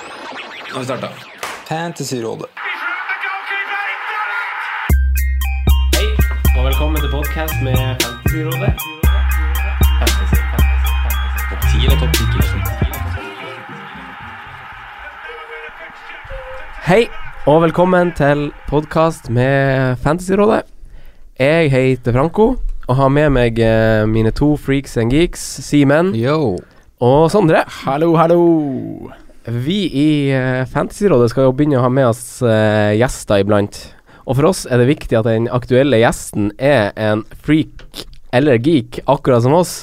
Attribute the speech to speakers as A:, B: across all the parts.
A: Nå har vi starta.
B: Fantasyrådet.
C: Hei, og velkommen til podcast med Fantasyrådet. Topp 10 eller topp 10? Hei, og velkommen til podcast med Fantasyrådet. Jeg heter Franco, og har med meg eh, mine to freaks and geeks, Simen
B: Yo.
C: og Sondre.
D: Hallo, hallo.
C: Vi i eh, Fantasyrådet skal jo begynne å ha med oss eh, gjester iblant. Og for oss er det viktig at den aktuelle gjesten er en freak eller geek, akkurat som oss.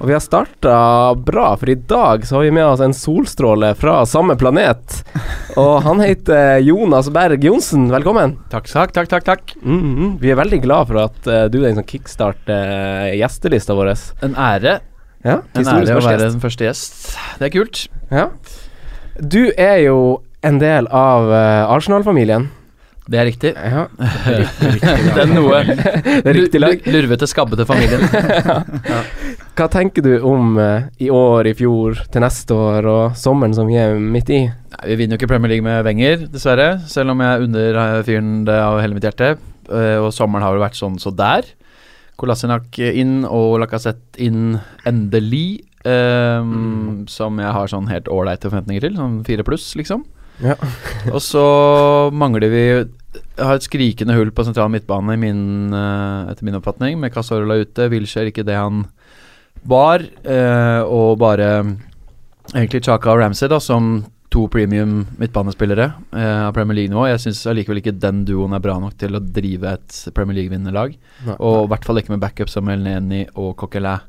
C: Og vi har starta bra, for i dag så har vi med oss en solstråle fra samme planet. Og han heter Jonas Berg Johnsen. Velkommen.
D: Takk, takk, takk, takk, takk.
C: Mhm. Vi er veldig glad for at eh, du er den som kickstarter eh, gjestelista vår.
D: En ære.
C: Ja,
D: En ære å
C: historisk
D: være
C: gjest.
D: den første gjest. Det er kult.
C: Ja. Du er jo en del av eh, Arsenal-familien.
D: Det er riktig.
C: Ja,
D: Det er noe
C: det er riktig lag.
D: lur- lurvete, skabbete familien.
C: Hva tenker du om eh, i år, i fjor, til neste år og sommeren som vi er midt i?
D: Nei, vi vinner jo ikke Premier League med Wenger, dessverre. Selv om jeg unner eh, fyren det av hele mitt hjerte. Eh, Og sommeren har vel vært sånn så der. Kolasinac inn og Lacassette inn endelig. eh, Som jeg har sånn helt ålreite forventninger til. Sånn fire pluss, liksom.
C: Ja.
D: og så mangler vi Jeg har et skrikende hull på sentral midtbane i min, eh, etter min oppfatning, med Casorla ute. Wilshere ikke det han var, eh, og bare egentlig Chaka og Ramsey, da, som to premium midtbanespillere eh, av Premier League nå. Jeg syns allikevel ikke den duoen er bra nok til å drive et Premier League-vinnende lag.
C: Nei.
D: Og i hvert fall ikke med backup som Elneni og Coquelin.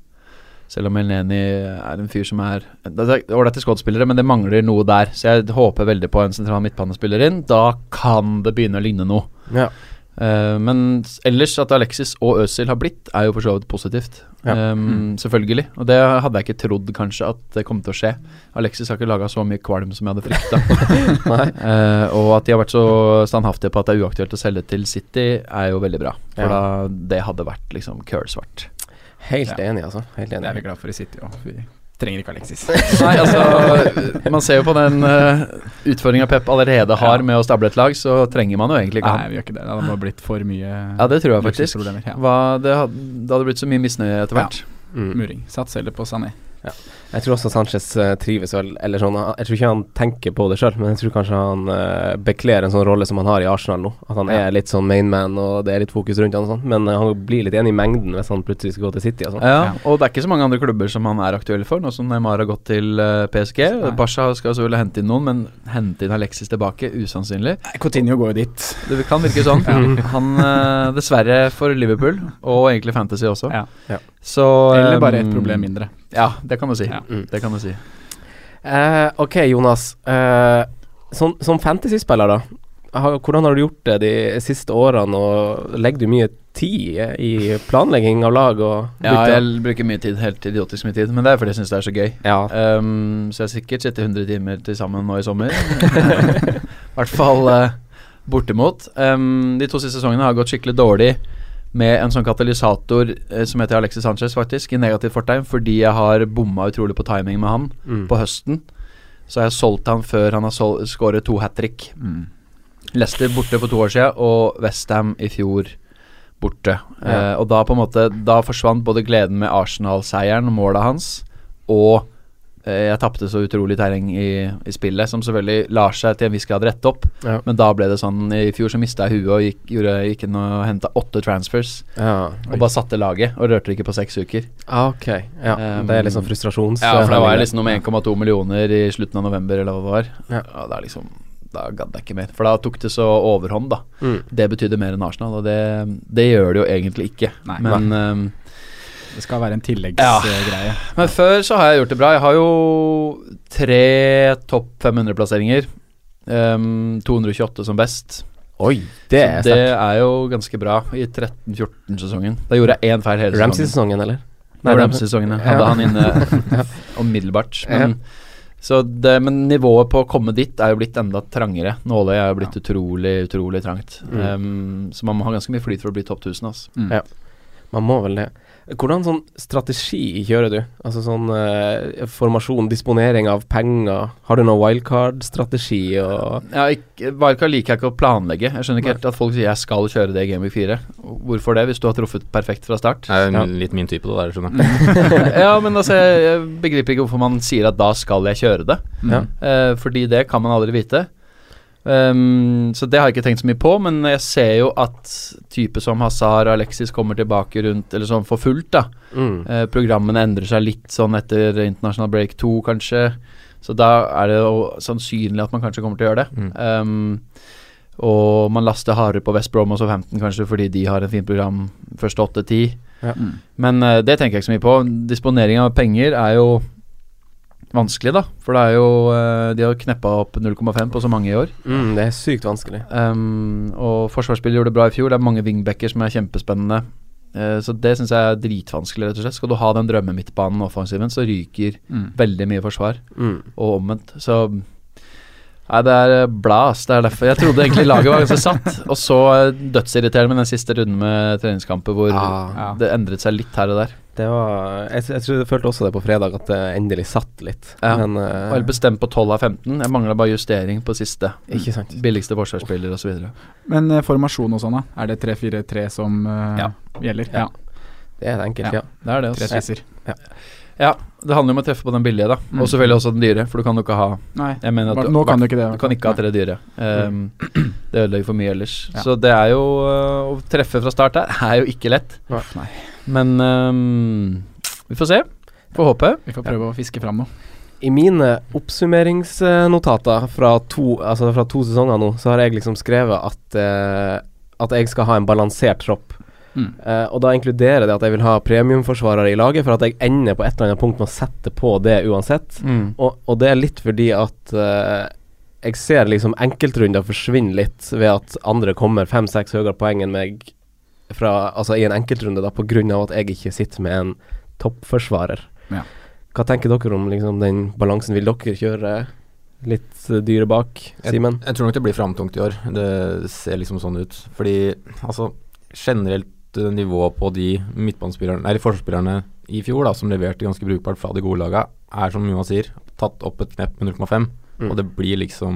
D: Selv om Elneni er en fyr som er Det er ålreite skuespillere, men det mangler noe der. Så jeg håper veldig på en sentral midtbanespiller inn. Da kan det begynne å ligne noe.
C: Ja.
D: Eh, men s- ellers at Alexis og Øzil har blitt, er jo for så vidt positivt.
C: Ja.
D: Eh, Selvfølgelig. Og det hadde jeg ikke trodd kanskje at det kom til å skje. Alexis har ikke laga så mye kvalm som jeg hadde frykta. og at de har vært så standhaftige på at det er uaktuelt å selge til City, er jo veldig bra. For
C: Ja.
D: da, det hadde vært liksom kølsvart.
C: Helt enig, altså. Helt
A: Det er
C: enig.
A: vi glad for i City òg. Vi trenger ikke Alexis.
D: Nei, altså Man ser jo på den uh, utfordringa Pep allerede har med å stable et lag, så trenger man jo egentlig ikke
A: Nei,
D: han.
A: vi gjør ikke det. Det hadde bare blitt for mye
D: Ja, det tror jeg faktisk.
A: luksusproblemer, Ja.
D: Hva, det, hadde, det hadde blitt så mye misnøye etter hvert.
C: Mm.
A: Muring. Sats heller på Sané.
C: Jeg tror også Sanchez eh, trives vel, eller sånn han- Jeg tror ikke han tenker på det sjøl, men jeg tror kanskje han eh, bekler en sånn rolle som han har i Arsenal nå. At han er litt sånn mainman, og det er litt fokus rundt han og sånn. Men eh, han blir litt enig i mengden hvis han plutselig skal gå til City og sånn.
D: Ja, og det er ikke så mange andre klubber som han er aktuell for, nå som Neymar har gått til eh, PSG.
A: Nei.
D: Barca skal selvfølgelig hente inn noen, men hente inn Alexis tilbake? Usannsynlig.
A: Coutinho går jo dit.
D: Det kan virke sånn. Han eh, Dessverre for Liverpool, og egentlig Fantasy også.
A: Ja.
C: Ja.
D: Så
A: Eller
D: eh,
A: bare et problem mindre.
D: Ja, det kan du si.
A: Ja.
C: Mm.
D: Det kan du si.
C: Eh, ok, Jonas. Eh, som som fantasyspiller, da. Har, hvordan har du gjort det de siste årene, og legger du mye tid eh, i planlegging av lag og
D: Ja,
C: bytte?
D: jeg bruker mye tid, helt idiotisk mye tid, men det er fordi jeg syns det er så gøy.
C: ja.
D: Ehm, så jeg har sikkert sittet 100 timer til sammen nå i sommer. I hvert fall eh, bortimot. Ehm, de to siste sesongene har gått skikkelig dårlig med en sånn katalysator eh, som heter Alexis Sanchez, faktisk, i negativt fortegn, fordi jeg har bomma utrolig på timing med han
C: Mm.
D: på høsten. Så har jeg solgt han før han har sol- skåret to hat trick.
A: Mm.
D: Leicester borte for to år siden, og Westham i fjor borte.
C: Ja.
D: Eh, og da på en måte Da forsvant både gleden med Arsenal-seieren og målet hans, og eh, jeg tapte så utrolig terreng i, i spillet, som selvfølgelig lar seg til en viss grad rette opp.
C: Ja.
D: Men da ble det sånn I fjor så mista jeg huet og gikk, gjorde, gikk inn og henta åtte transfers.
C: ja.
D: Og bare satte laget, og rørte det ikke på seks uker.
C: Ah, Ok. Ja,
D: Ehm,
C: det er liksom frustrasjons...
D: Ja, for da var jeg liksom noe med 1,2 millioner i slutten av november, eller hva det var.
C: Ja.
D: Og da liksom Da gadd jeg ikke mer. For da tok det så overhånd, da.
C: Mm.
D: Det betydde mer enn Arsenal, og det, det gjør det jo egentlig ikke.
A: Nei.
D: men, ehm,
A: Det skal være en
D: Ja.
A: tilleggsgreie.
D: men før så har jeg gjort det bra. Jeg har jo tre topp 500-plasseringer. Ehm, 228 som best.
C: Oi, det
D: så
C: er
D: det
C: sterkt.
D: er jo ganske bra i 13-14-sesongen. Da gjorde jeg én feil hele sesongen.
C: Ramsey-sesongen, eller? Nei,
D: Nei, Ramsey-sesongen ja.
C: Ja.
D: hadde han inne umiddelbart. Men, så det, men nivået på å komme dit er jo blitt enda trangere. Nåløyet er jo blitt utrolig, utrolig trangt.
C: Mm.
D: Ehm,
A: Mm.
D: Um, så man må ha ganske mye flyt for å bli topp 1000. Altså.
C: Ja. Man må vel det. Hvordan sånn strategi kjører du? Altså sånn eh, formasjon, disponering av penger. Har du noen wildcard-strategi og
D: Ja, ikke, Wildcard liker jeg ikke å planlegge. Jeg skjønner ikke helt at folk sier jeg skal kjøre det i Game Week 4. Hvorfor det, hvis du har truffet perfekt fra start?
B: Det er jo
C: Ja.
B: min- litt min type, det der, skjønner jeg.
D: ja, men altså, jeg, jeg begriper ikke hvorfor man sier at da skal jeg kjøre det.
A: Mm.
C: Ja.
D: Eh, fordi det kan man aldri vite. Ehm, så det har jeg ikke tenkt så mye på, men jeg ser jo at type som Hazar og Alexis kommer tilbake rundt, eller sånn for fullt, da.
C: mm.
D: Eh, programmene endrer seg litt sånn etter International Break 2, kanskje. Så da er det jo sannsynlig at man kanskje kommer til å gjøre det.
B: Mm.
D: Ehm, og man laster hardere på West Brom og Southampton kanskje fordi de har en fint program første åtte-ti.
A: Mm.
D: Men eh, det tenker jeg ikke så mye på. Disponering av penger er jo vanskelig, da. For det er jo eh, De har kneppa opp 0,5 på så mange i år.
C: Mm, det er sykt vanskelig.
D: Ehm, og forsvarsspiller gjorde det bra i fjor. Det er mange wingbacker som er kjempespennende. Eh, så det syns jeg er dritvanskelig, rett og slett. Skal du ha den drømmemidtbanen og offensiven, så ryker
A: Mm.
D: veldig mye forsvar,
C: Mm.
D: og omvendt. Så Nei, det er eh, blas. Det er derfor Jeg trodde egentlig laget var ganske satt. Og så eh, dødsirriterende med den siste runden med treningskamper hvor
C: Ah,
A: Ja.
D: det endret seg litt her og der.
C: det var Jeg, jeg, tror jeg følte også det på fredag, at det endelig satt litt.
D: Ja.
C: Men
D: Jeg
C: eh,
D: var helt bestemt på 12 av 15. Jeg mangla bare justering på siste.
C: Ikke sant.
D: Billigste forsvarsspiller osv.
A: Men eh, formasjon og sånn, da? Er det 3-4-3 som eh,
D: Ja.
A: gjelder?
C: Ja.
A: Ja.
C: Det er det enkelt, ja.
A: Ja.
D: Det er det.
A: Tre
D: Altså.
A: spisser.
D: Det handler om å treffe på den billige, da.
A: Mm.
D: Og selvfølgelig også den dyre, for du kan jo ikke ha
A: Nei,
D: Jeg mener at
A: bare-
D: du,
A: nå kan du ikke det. Mm.
D: du kan ikke ha tre dyre. Ehm, det ødelegger for mye ellers.
A: Ja.
D: Så det er jo øh, Å treffe fra start der er jo ikke lett.
A: Uff, Nei,
D: Men øhm, vi får se. Får håpe.
A: vi får prøve å fiske fram noe.
C: I mine oppsummeringsnotater fra to, altså fra to sesonger nå, så har jeg liksom skrevet at, eh, at jeg skal ha en balansert tropp.
A: Mm.
C: Eh, og da inkluderer det at jeg vil ha premiumforsvarere i laget, for at jeg ender på et eller annet punkt med å sette på det uansett.
D: Mm.
C: Og, og det er litt fordi at eh, jeg ser liksom enkeltrunder forsvinne litt ved at andre kommer fem-seks høyere poeng enn meg fra, altså i en enkeltrunde, da, på grunn av at jeg ikke sitter med en toppforsvarer.
A: Ja.
C: Hva tenker dere om liksom, den balansen? Vil dere kjøre litt eh, dyre bak, Simen?
B: Jeg tror nok det blir framtungt i år. Det ser liksom sånn ut. Fordi altså generelt eh, nivået på de midtbanespillerne, nei, de forsvarsspillerne i fjor da, som leverte ganske brukbart fra de gode laga, er som Jonas sier, tatt opp et knepp med 0,5.
C: Mm.
B: Og det blir liksom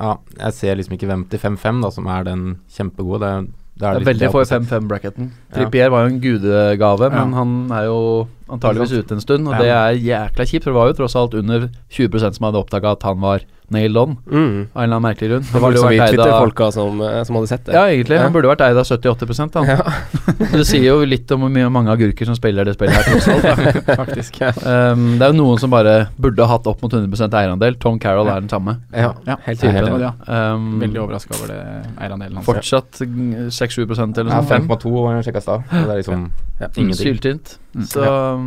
B: Ja, jeg ser liksom ikke hvem til 5-5 da, som er den kjempegode. Det, det er,
D: Det er
B: liksom
D: veldig
B: det
D: få i
B: opposite.
D: 5-5-bracketen.
B: Ja.
D: Trippier var jo en gudegave, men
A: Ja.
D: han er jo antageligvis ute en stund, og
A: Ja.
D: det er jækla kjipt. For det var jo tross alt under 20 som hadde oppdaga at han var nailed on.
C: Mm.
D: Av en eller annen merkelig grunn.
C: Det
D: Han
C: var
D: burde
C: liksom vi
D: vært eid av-
C: Twitter-folka som, eh, som hadde sett det.
D: Ja, egentlig.
C: Ja.
D: Han burde vært eid av 70-80 da. det sier jo litt om hvor mye mange agurker som spiller det spillet her, tross alt. da.
A: Faktisk.
D: Um, det er jo noen som bare burde hatt opp mot 100 eierandel. Tom Carroll er den samme.
C: Ja.
A: Ja,
C: Helt
A: jeg er
C: tydelig.
A: enig. Ja.
D: Um,
A: Veldig overraska over det eierandelen hans.
D: Fortsatt mm, 6-7 eller
B: Ja,
D: sånn. 5
B: 5,2 var jeg sjekka i stad. og Det er liksom
C: Ja.
B: ingenting.
D: Syltynt.
A: Mm.
D: Så um,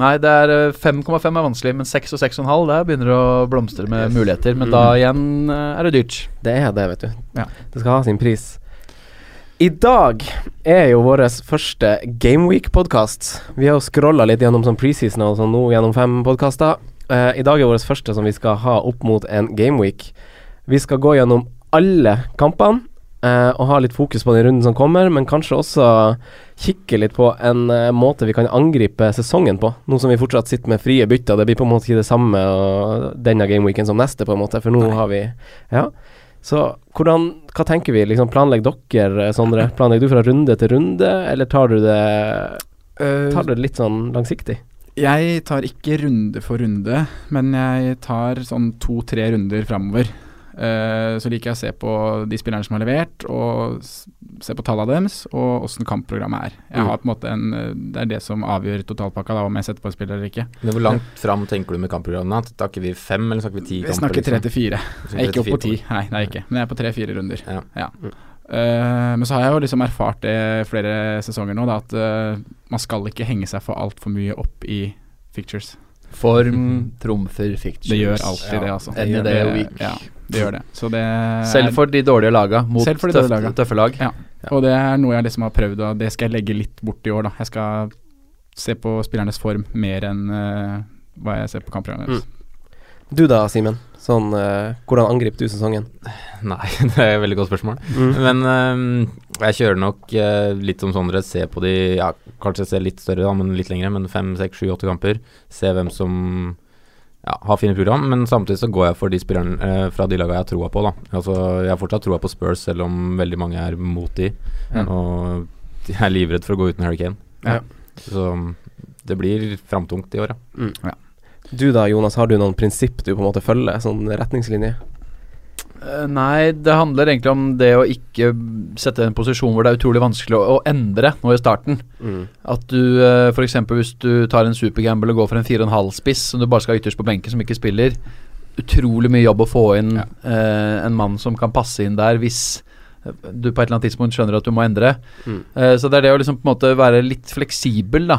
D: Nei, det er eh, 5,5 er vanskelig, men 6 og 6,5 der begynner det å blomstre med
B: Yes.
D: muligheter. Men
C: Mm.
D: da igjen eh, er det dyrt.
C: Det er det, vet du.
A: Ja.
C: Det skal ha sin pris. I dag er jo vår første Gameweek-podkast. Vi har jo scrolla litt gjennom sånn preseason og sånn nå gjennom fem podkaster. Eh, I dag er vår første som vi skal ha opp mot en Gameweek. Vi skal gå gjennom alle kampene eh, og ha litt fokus på den runden som kommer, men kanskje også kikke litt på en eh, måte vi kan angripe sesongen på. Nå som vi fortsatt sitter med frie bytter. Det blir på en måte ikke det samme og denne Gameweeken som neste, på en måte, for nå har vi Ja. Så hvordan, hva tenker vi? Liksom planlegger dere, eh, Sondre? Planlegger du fra runde til runde, eller tar du det,
A: Eh,
C: tar du det litt sånn langsiktig?
A: Jeg tar ikke runde for runde, men jeg tar sånn to-tre runder framover. Eh, så liker jeg å se på de spillerne som har levert, og s- se på tallene deres, og åssen kampprogrammet er. Jeg
C: Mm.
A: har på en måte en, eh, Det er det som avgjør totalpakka, da, om jeg setter på en spiller eller ikke.
B: Men hvor langt fram tenker du med kampprogrammene? Snakker vi fem, eller snakker vi ti
A: Vi snakker tre til fire.
B: liksom?
A: Jeg er ikke oppe på ti,
B: Tre til fire.
A: nei, det er jeg ikke. men jeg er på tre-fire runder.
B: Ja.
C: Mm.
A: Eh, men så har jeg jo liksom erfart det flere sesonger nå, da, at eh, man skal ikke henge seg for altfor mye opp i fictures.
D: Form trumfer fictions.
A: Det gjør alltid det, altså.
D: Any
A: Det-
D: day of week.
A: Ja, det gjør det. Så det
D: Selv for de dårlige laga mot
A: Selv for de
D: tøff-
A: dårlige laga.
D: tøffe lag.
A: er, Og det er noe jeg liksom har prøvd, og det skal jeg legge litt bort i år, da. Jeg skal se på spillernes form mer enn eh, hva jeg ser på kampprogrammet deres.
D: Mm.
C: Du da, Simen? Sånn, eh, hvordan angriper du sesongen?
A: Mm.
C: Mm.
B: Nei, det er et veldig godt spørsmål. Men øhm, Jeg kjører nok eh, litt som Sondre, se på de ja, Kanskje se litt større, da, men litt lengre. Men fem, seks, sju, åtte kamper. Se hvem som ja, har fine program. Men samtidig så går jeg for de spillerne eh, fra de lagene jeg har troa på, da. Altså, jeg har fortsatt troa på Spurs, selv om veldig mange er mot de.
A: Ja.
B: Og de er livredd for å gå uten Harry Kane.
A: Ja.
B: Så det blir framtungt i år, ja.
C: Du da, Jonas, har du noen prinsipp du på en måte følger? Sånn retningslinje?
D: Eh, Nei, det handler egentlig om det å ikke sette en posisjon hvor det er utrolig vanskelig å, å endre nå i starten.
C: Mm.
D: At du eh, for eksempel hvis du tar en supergamble og går for en 4,5-spiss som du bare skal ha ytterst på benken, som ikke spiller Utrolig mye jobb å få inn
A: Ja.
D: eh, en mann som kan passe inn der hvis eh, du på et eller annet tidspunkt skjønner at du må endre.
C: Mm.
D: Eh, så det er det å liksom på en måte være litt fleksibel, da.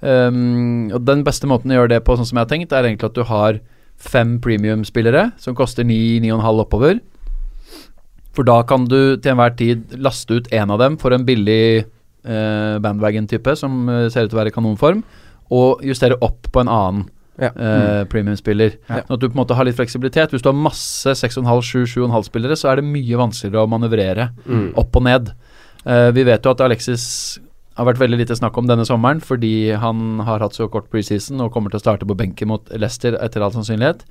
D: Um, og den beste måten å gjøre det på, sånn som jeg har tenkt, er egentlig at du har fem premium-spillere som koster 9-9,5 oppover. For da kan du til enhver tid laste ut én av dem for en billig eh, bandwagon-type som eh, ser ut til å være i kanonform, og justere opp på en annen
C: Ja.
D: eh, premium-spiller.
A: Ja.
D: Sånn at du på en måte har litt fleksibilitet. Hvis du har masse 6,5-7-7,5-spillere, så er det mye vanskeligere å manøvrere
C: Mm.
D: opp og ned. Eh, vi vet jo at Alexis har vært veldig lite snakk om denne sommeren fordi han har hatt så kort preseason og kommer til å starte på benken mot Leicester etter all sannsynlighet.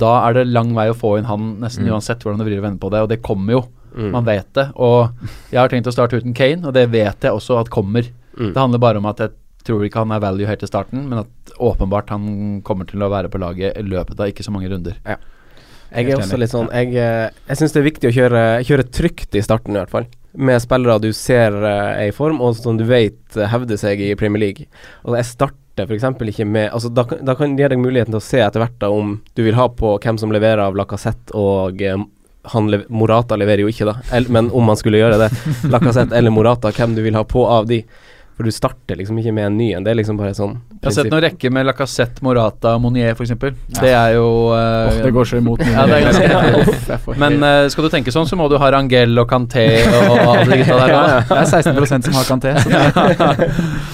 D: Da er det lang vei å få inn han nesten
B: Mm.
D: uansett hvordan du vrir og vender på det, og det kommer jo.
C: Mm.
D: Man vet det. Og jeg har tenkt å starte uten Kane, og det vet jeg også at kommer.
C: Mm.
D: Det handler bare om at jeg tror ikke han er value helt til starten, men at åpenbart han kommer til å være på laget i løpet av ikke så mange runder.
C: Jeg er
A: Helt
C: også
A: enig.
C: litt sånn Jeg, eh, jeg syns det er viktig å kjøre, kjøre trygt i starten, i hvert fall. Med spillere du ser eh, er i form, og som du vet eh, hevder seg i Premier League. Og jeg starter f.eks. ikke med altså, da, kan- da kan det gi deg muligheten til å se etter hvert da, om du vil ha på hvem som leverer av Lacassette og eh, han lev Morata leverer jo ikke, da. El men om han skulle gjøre det, Lacassette eller Morata, hvem du vil ha på av de. For du starter liksom ikke med en ny en. Det er liksom bare sånn
A: Altså,
D: Jeg har sett noen rekke med Lacassette, Morata, Monier f.eks. Det er jo eh,
A: Åh, det går så imot.
D: Ja, det er ganske-
A: ganske
D: Men eh, skal du tenke sånn, så må du ha Rangel og Kanté og alle de gutta der.
A: ja,
D: nå.
A: Det er 16 som har Kanté. så det-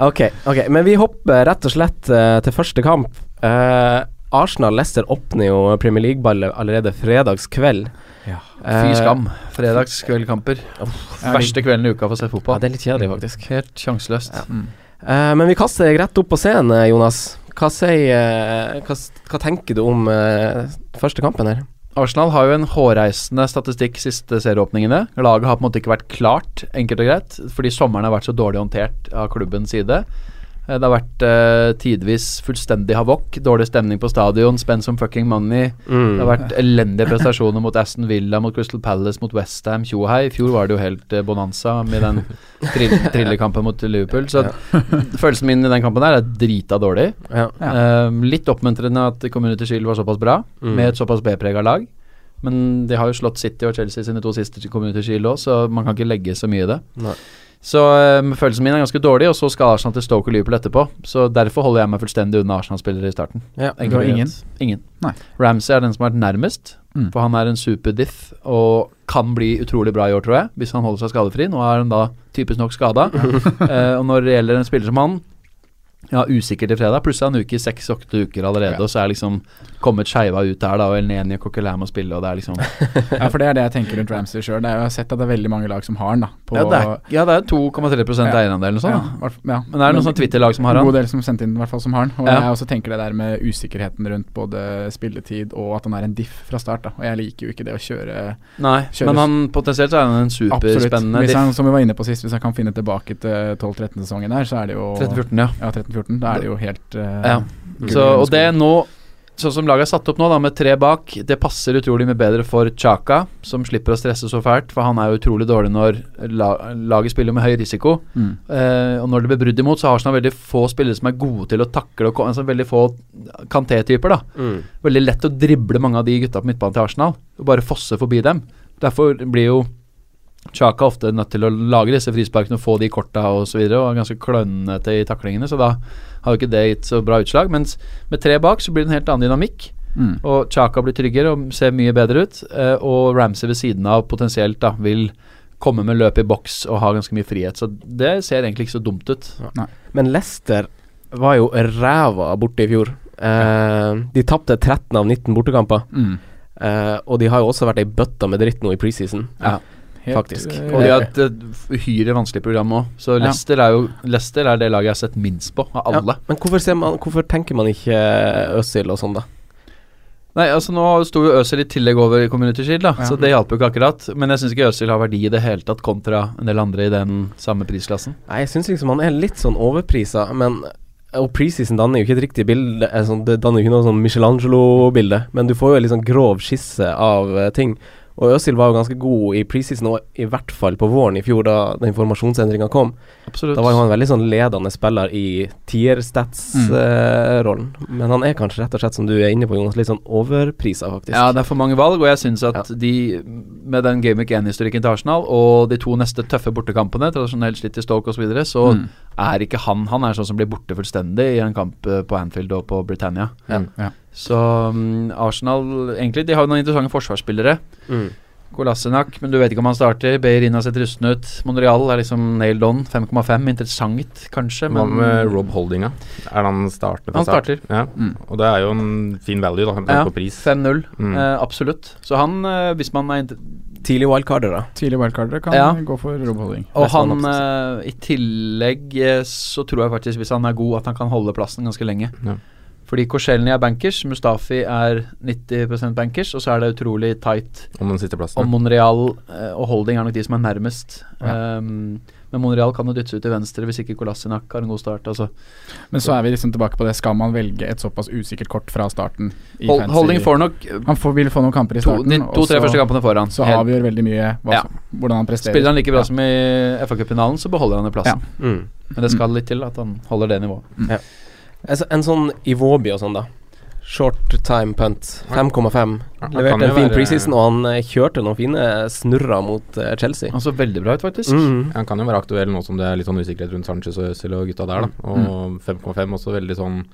C: Ok, ok, men vi hopper rett og slett eh, til første kamp. Eh, Arsenal-Leicester åpner jo Premier League-ballet allerede fredagskveld.
A: Ja.
D: Fy
C: Eh,
D: skam. Fredagskveldkamper.
A: Ja,
D: Verste kvelden i uka for å se
C: Ja,
D: fotball.
C: det er litt kjedelig, faktisk.
D: Helt sjanseløst.
C: Ja.
A: Mm.
C: Eh, men vi kaster deg rett opp på scenen, eh, Jonas. Hva, sier, eh, hva, s- hva tenker du om eh, første kampen her?
D: Arsenal har jo en hårreisende statistikk siste serieåpningene. Laget har på en måte ikke vært klart, enkelt og greit, fordi sommeren har vært så dårlig håndtert av klubbens side. Eh, Det har vært eh, tidvis fullstendig havokk, dårlig stemning på stadion, spend some fucking money.
C: Mm.
D: Det har vært elendige prestasjoner mot Aston Villa, mot Crystal Palace, mot Westham, tjo og hei. I fjor var det jo helt eh, bonanza med den trill trillekampen mot Liverpool. Så at, følelsen min i den kampen her er drita dårlig.
C: ja.
A: Ja.
D: Eh, litt oppmuntrende at Community Shield var såpass bra,
C: Mm.
D: med et såpass B-prega lag. Men de har jo slått City og Chelsea sine to siste Community Shield òg, så man kan ikke legge så mye i det.
C: Nei.
D: Så eh, følelsen min er ganske dårlig, og så skal Arsenal til Stoke og Liverpool etterpå. Så derfor holder jeg meg fullstendig unna Arsenal-spillere i starten.
C: Ja.
A: Det var
D: Enkelt og
A: ingen?
D: greit. Ingen.
A: Nei.
D: Ramsey er den som har vært nærmest,
A: Mm.
D: for han er en superdiff og kan bli utrolig bra i år, tror jeg, hvis han holder seg skadefri. Nå er han da typisk nok skada. Eh, og når det gjelder en spiller som han, ja, usikker til fredag, pluss er han uke i seks-åtte uker allerede,
A: Ja.
D: og så er liksom kommet skeiva ut der, da, og Elneni og Coquelin må spille, og det er liksom
A: ja, for det er det jeg tenker rundt Ramsey sjøl. Jeg har sett at det er veldig mange lag som har han. da på, Sånn,
D: ja, det er, ja, det er 2,3 eierandel eller noe sånt.
A: Ja,
D: da.
A: hvert- ja.
D: Men det er noen sånne Twitter-lag som har
A: En
D: han.
A: god del som sendte inn, i hvert fall som har han. Og
D: Ja.
A: jeg også tenker det der med usikkerheten rundt både spilletid og at han er en diff fra start. da Og jeg liker jo ikke det å kjøre
D: Nei,
A: Kjøres.
D: men han potensielt så er han en
A: Absolutt.
D: superspennende
A: Hvis
D: diff.
A: han, som vi var inne på sist, hvis han kan finne tilbake til 12-13-sesongen her, så er det jo
D: 13-14, ja.
A: Ja, 13-14. Da er det jo helt eh,
D: Ja.
A: gull
D: Så,
A: i
D: og det
A: skogen.
D: nå Sånn som laget er satt opp nå, da med tre bak, det passer utrolig mye bedre for Chaka, som slipper å stresse så fælt, for han er jo utrolig dårlig når la laget spiller med høy risiko.
A: mm.
D: Eh, og når det blir brudd imot, så har Arsenal veldig få spillere som er gode til å takle og ko- altså, Veldig få Kanté-typer, da.
C: Mm.
D: Veldig lett å drible mange av de gutta på midtbanen til Arsenal, og bare fosse forbi dem. Derfor blir jo Chaka ofte nødt til å lage disse frisparkene og få de korta og så videre, og er ganske klønete i taklingene, så da har jo ikke det gitt så bra utslag. Mens med tre bak så blir det en helt annen dynamikk,
A: Mm.
D: og Chaka blir tryggere og ser mye bedre ut. eh, Og Ramsey ved siden av potensielt da vil komme med løp i boks og ha ganske mye frihet, så det ser egentlig ikke så dumt ut.
C: Men Leicester var jo ræva borte i fjor. Eh, de tapte 13 av 19 bortekamper,
A: Mm.
C: eh, og de har jo også vært ei bøtta med dritt nå i preseason.
A: Ja.
C: faktisk.
A: eh,
D: Og de har et eh, uhyre vanskelig program òg. Så
A: Ja.
D: Leicester, er jo, Leicester er det laget jeg har sett minst på av alle.
C: Ja, men hvorfor, ser man, hvorfor tenker man ikke eh, Øzil og sånn, da?
D: Nei, altså Nå sto jo Øzil i tillegg over Community Shield, da,
A: Ja.
D: så det hjalp jo ikke akkurat. Men jeg syns ikke Øzil har verdi i det hele tatt kontra en del andre i den samme prisklassen.
C: Nei, jeg syns liksom han er litt sånn overprisa, men eh, og preseason danner jo ikke et riktig bilde, eh, sånn, det danner jo ikke noe sånn Michelangelo-bilde, men du får jo en litt sånn grov skisse av eh, ting. Og Øzil var jo ganske god i preseason, og i hvert fall på våren i fjor, da den formasjonsendringa kom.
D: Absolutt.
C: Da var jo han veldig sånn ledende spiller i Mm. tierstats-rollen. Men han er kanskje rett og slett, som du er inne på, Jonas, litt sånn overprisa, faktisk.
D: Ja, det er for mange valg, og jeg syns at
C: Ja.
D: de, med den Game Week 1-historikken til Arsenal og de to neste tøffe bortekampene, tradisjonelt slitt i Stoke osv., så, videre, så
A: Mm.
D: er ikke han Han er sånn som blir borte fullstendig i en kamp eh, på Anfield og på Britannia.
B: Ja.
A: Ja.
D: Så mm, Arsenal Egentlig, de har jo noen interessante forsvarsspillere.
C: Mm.
D: Kolassenak, men du vet ikke om han starter. Beirin har sett rusten ut. Monreal er liksom nailed on. 5,5. Interessant, kanskje,
B: Hva
D: men
B: med Rob Holdinga? Er han startende? fra
D: Han
B: start?
D: starter.
B: Ja.
A: Mm.
B: Og det er jo en fin value, da, med tanke
D: Ja.
B: på pris.
D: 5-0.
B: Mm.
D: Eh, absolutt. Så han, eh, hvis man er inter-
C: Tidlig wildcarder, da.
A: Tidlig wildcardere kan
D: Ja.
A: gå for Rob Holding.
D: Og
C: Mest
D: han,
C: mann
D: eh, i tillegg eh, så tror jeg faktisk, hvis han er god, at han kan holde plassen ganske lenge.
B: Ja.
D: Fordi Korselny er bankers, Mustafi er 90 bankers, og så er det utrolig tight.
B: Om den siste
D: Og
B: plassen.
D: Monreal eh, og Holding er nok de som er nærmest.
A: Ja.
D: Um, men Monreal kan jo dyttes ut til venstre hvis ikke Kolasinac har en god start. Altså.
A: Men så er vi liksom tilbake på det. Skal man velge et såpass usikkert kort fra starten? i
D: Hol
A: fantasy?
D: Holding får nok eh,
A: Han får, vil få noen kamper i
D: to-
A: starten.
D: de
A: og
D: to-tre
A: så-
D: første kampene foran.
A: Så
D: Helt-
A: avgjør veldig mye hva,
D: Ja.
A: som- hvordan han presterer.
D: Spiller han like bra
A: Ja.
D: som i FA-cupfinalen, så beholder han den plassen.
C: Mm.
D: Men det skal litt til at han holder det nivået.
C: Altså, en sånn Iwobi og sånn, da. Short time punt. 5,5.
B: Ja, han kan
C: Leverte
B: jo
C: en fin
B: være-
C: preseason, og han eh, kjørte noen fine snurrer mot eh, Chelsea.
D: Han så veldig bra ut, faktisk.
C: Mm.
B: Han kan jo være aktuell nå som det er litt sånn usikkerhet rundt Sanchez og Øzil og gutta der, da.
C: Mm.
B: Og 5,5 også veldig sånn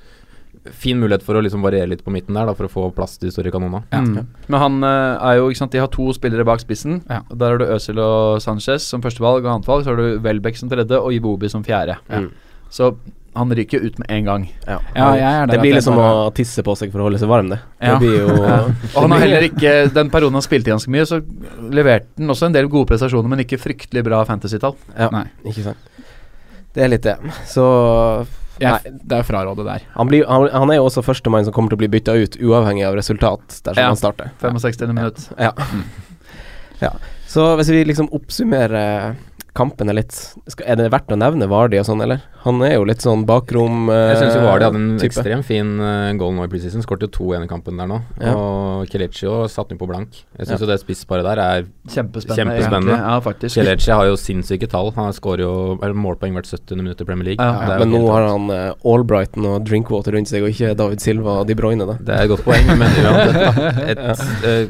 B: fin mulighet for å liksom variere litt på midten der, da, for å få plass til de store kanonene.
A: Ja.
D: Mm. Men han eh, er jo, ikke sant, de har to spillere bak spissen.
A: Ja.
D: Og Der har du Øzil og Sanchez som førstevalg og annetvalg. Så har du Welbeck som tredje og Iwobi som fjerde.
C: Mm.
D: Så han ryker ut med en gang.
C: Ja.
A: Ja, jeg er der
C: det
A: at
C: blir
A: jeg
C: liksom
A: bare-
C: å tisse på seg for å holde seg varm, det.
A: Ja.
C: Det blir jo
D: Og han har heller ikke Den perioden han spilte ganske mye, så leverte han også en del gode prestasjoner, men ikke fryktelig bra fantasy-tall.
C: ja,
A: Nei.
C: Ikke sant. Det er litt det. Så
A: Jeg, det er å fraråde der.
C: han, blir, han, han er jo også førstemann som kommer til å bli bytta ut, uavhengig av resultat, dersom
D: Ja.
C: han starter.
D: 65. minutt.
C: Ja. ja. Så hvis vi liksom oppsummerer kampene litt, skal, er det verdt å nevne Vardi og sånn, eller? Han er jo litt sånn bakrom eh,
B: Jeg syns jo Vardy hadde en
C: type.
B: ekstremt fin eh, goal nå i preseason. Skåret jo to igjen i kampen der nå.
C: Ja.
B: Og Kelechi også satte den på blank. Jeg syns
C: Ja.
B: jo det spissparet der er
D: Kjempespennende.
B: Kjempespennende.
D: egentlig. Ja, faktisk.
B: Kelechi har jo sinnssyke tall. Han skårer jo eller målpoeng hvert 70. minutt i Premier League.
D: Ja,
B: Det er
C: Ja,
B: jo
C: men nå
B: helt-
C: har han eh, Albrighton og Drinkwater rundt seg, og ikke David Silva og De Bruyne, da.
B: Det er et godt poeng, men uansett, da. Et, eh,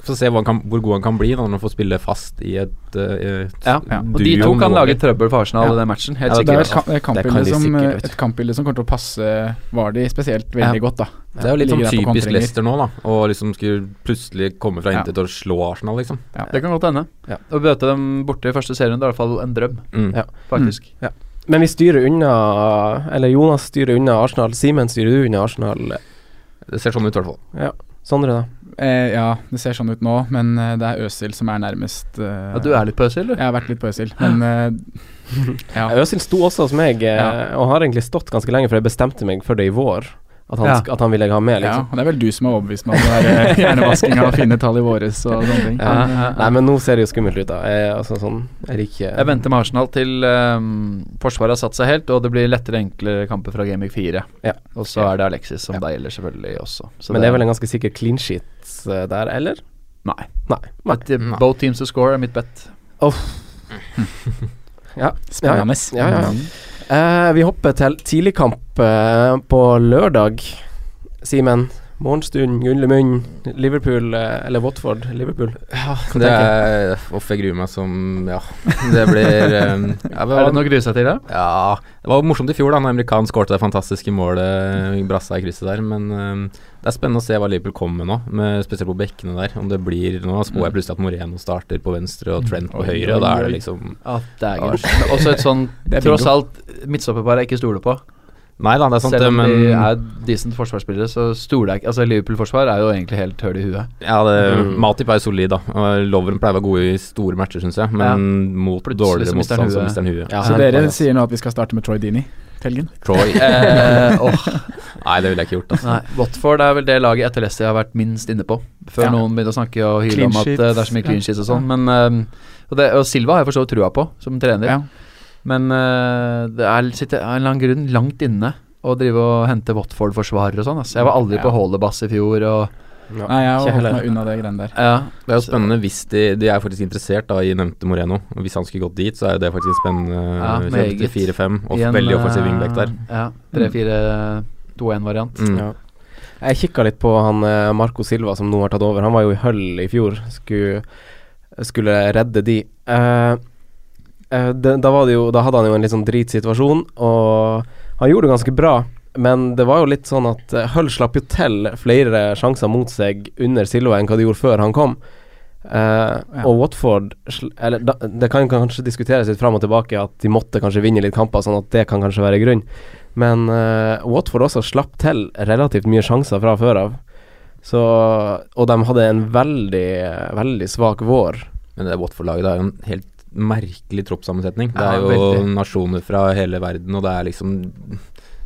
B: Få se hva han kan, hvor god han kan bli da, når han får spille fast i et, eh, et
D: Ja.
A: Ja.
D: Og de to
B: duo
D: kan
B: mål.
D: lage trøbbel for Arsenal i den matchen. Helt
B: Ja,
A: Det er
D: sikkert. altså.
A: et, kam- et
C: kan
A: kampbilde
C: de
A: som,
C: sikkert, vet du.
A: et kampbilde som kommer til å passe Vardi spesielt veldig godt. da
B: Det er jo litt sånn
A: Ligger der på
B: typisk
A: kontringer.
B: Leicester nå, da. Å liksom skulle plutselig komme fra
A: Ja.
B: intet og slå Arsenal, liksom.
D: Det kan godt hende.
C: Ja.
D: Å møte dem borte i første serierunde er i hvert fall en drøm,
B: Mm.
C: Ja.
D: faktisk.
C: Men vi styrer unna Eller Jonas styrer unna Arsenal. Simen styrer du unna Arsenal.
B: Det ser sånn ut, i hvert fall.
C: Sondre, da?
A: Eh, ja, det ser sånn ut nå, men eh, det er Øsil som er nærmest. eh,
D: Ja, du er litt pøsig, du.
A: Jeg har vært litt på Øsil, men eh, ja.
C: Øzil sto også hos meg, eh,
A: Ja.
C: og har egentlig stått ganske lenge, for jeg bestemte meg for det i vår, at han,
D: Ja.
C: sk- at han ville jeg ha med,
A: ja.
C: liksom.
A: og Det er vel du som har overbevist meg om det der, eh, hjernevaskinga og fine tall i våres og sånne ting.
C: Ja.
A: Men, eh,
C: Nei, men nå ser det jo skummelt ut, da. Jeg, altså sånn Jeg liker
D: Jeg venter med Arsenal til ehm, forsvaret har satt seg helt, og det blir lettere, enklere kamper fra Game Week 4.
C: Ja.
D: Og så er det Alexis som deg gjelder, selvfølgelig også. Så
C: Men det er vel en ganske sikker clean sheet eh, der, eller?
D: Nei.
C: Nei. Nei.
D: But, eh,
B: Nei.
D: Both teams to score er mitt bet.
A: Spennende.
C: Ja, ja, ja. Eh, vi hopper til tidligkamp eh, på lørdag. Simen, morgenstund, Gunlemund, Liverpool eh, eller Watford, Liverpool.
B: Det er Uff, jeg gruer meg som Ja. Det blir eh, ja,
D: Er
B: det,
D: det noe å grue seg til, da?
B: ja, det var jo morsomt i fjor da når Amerikan skårte det fantastiske målet. Brassa i krysset der. Men eh, det er spennende å se hva Liverpool kommer med nå, med, spesielt på bekkene der. Om det blir Nå spår
D: Mm.
B: jeg plutselig at Moreno starter på venstre og Trent på
A: Oi,
B: høyre,
A: oi,
B: og da er det
A: oi.
B: liksom
D: Ja, det er Også et sånn
A: Det er
D: Tross
A: bingo.
D: alt, midtstopperpar jeg ikke stoler på.
B: Nei da, det er sant,
D: Selv
B: det,
D: om
B: men
D: de er decent forsvarsspillere, så stoler jeg ikke Altså, Liverpool-forsvar er jo egentlig helt høl i huet.
B: ja, det,
C: Mm.
B: Matip er jo solid, da. og Lovren pleier å være gode i store matcher, syns jeg. Men
D: Ja.
B: mot
D: Plutselig så
B: dårligere
D: mister
B: motstand,
D: han
B: så
D: huet.
B: mister han huet.
C: Ja,
A: Så
C: det er
A: dere
C: bra,
A: sier nå at vi skal starte med Troy Deeney til helgen?
B: Troy
D: Eh, åh,
B: Nei, det ville jeg ikke gjort, altså.
D: nei, Watford er vel det laget etter Leicester jeg har vært minst inne på. Før
A: Ja.
D: noen begynner å snakke og hyle
A: Clean
D: om at eh, det er så mye
A: sheets,
D: clean
A: ja.
D: sheets og sånn. Men eh, og, det, og Silva har jeg for så vidt trua på, som trener.
A: Ja.
D: Men eh, det er, sitter av en eller annen grunn langt inne å drive og hente Watford-forsvarere og sånn. ass. Jeg var aldri på
A: Ja.
D: Hollebass i fjor og
A: Nei, jeg har
C: Ikke
A: holdt
C: heller.
A: meg unna det greiene der.
D: ja.
B: Det er jo spennende hvis de, de er faktisk interessert da, i nevnte Moreno. Og Hvis han skulle gått dit, så er jo det faktisk en spennende
D: Ja,
B: kjøp
D: meget.
B: til 4-5. Og
D: i en,
B: veldig offensiv
D: eh,
B: wingback der.
D: Ja. 3-4-2-1-variant.
B: Mm.
C: Ja. Jeg kikka litt på han eh, Marco Silva som nå har tatt over. Han var jo i Hull i fjor. Skulle, skulle redde de. Eh, eh, det, da, var det jo, da hadde han jo en litt sånn dritsituasjon, og han gjorde det ganske bra. Men det var jo litt sånn at eh, Hull slapp jo til flere sjanser mot seg under Silva enn hva de gjorde før han kom. Eh, Og Watford sl- eller, da, Det kan kanskje diskuteres litt fram og tilbake at de måtte kanskje vinne litt kamper, sånn at det kan kanskje være grunn. Men eh, Watford også slapp til relativt mye sjanser fra før av. Så, og de hadde en veldig, eh, veldig svak vår.
B: Men det Watford-laget det er jo en helt merkelig troppssammensetning. Det
D: Ja,
B: er jo
D: veldig.
B: nasjoner fra hele verden, og det er liksom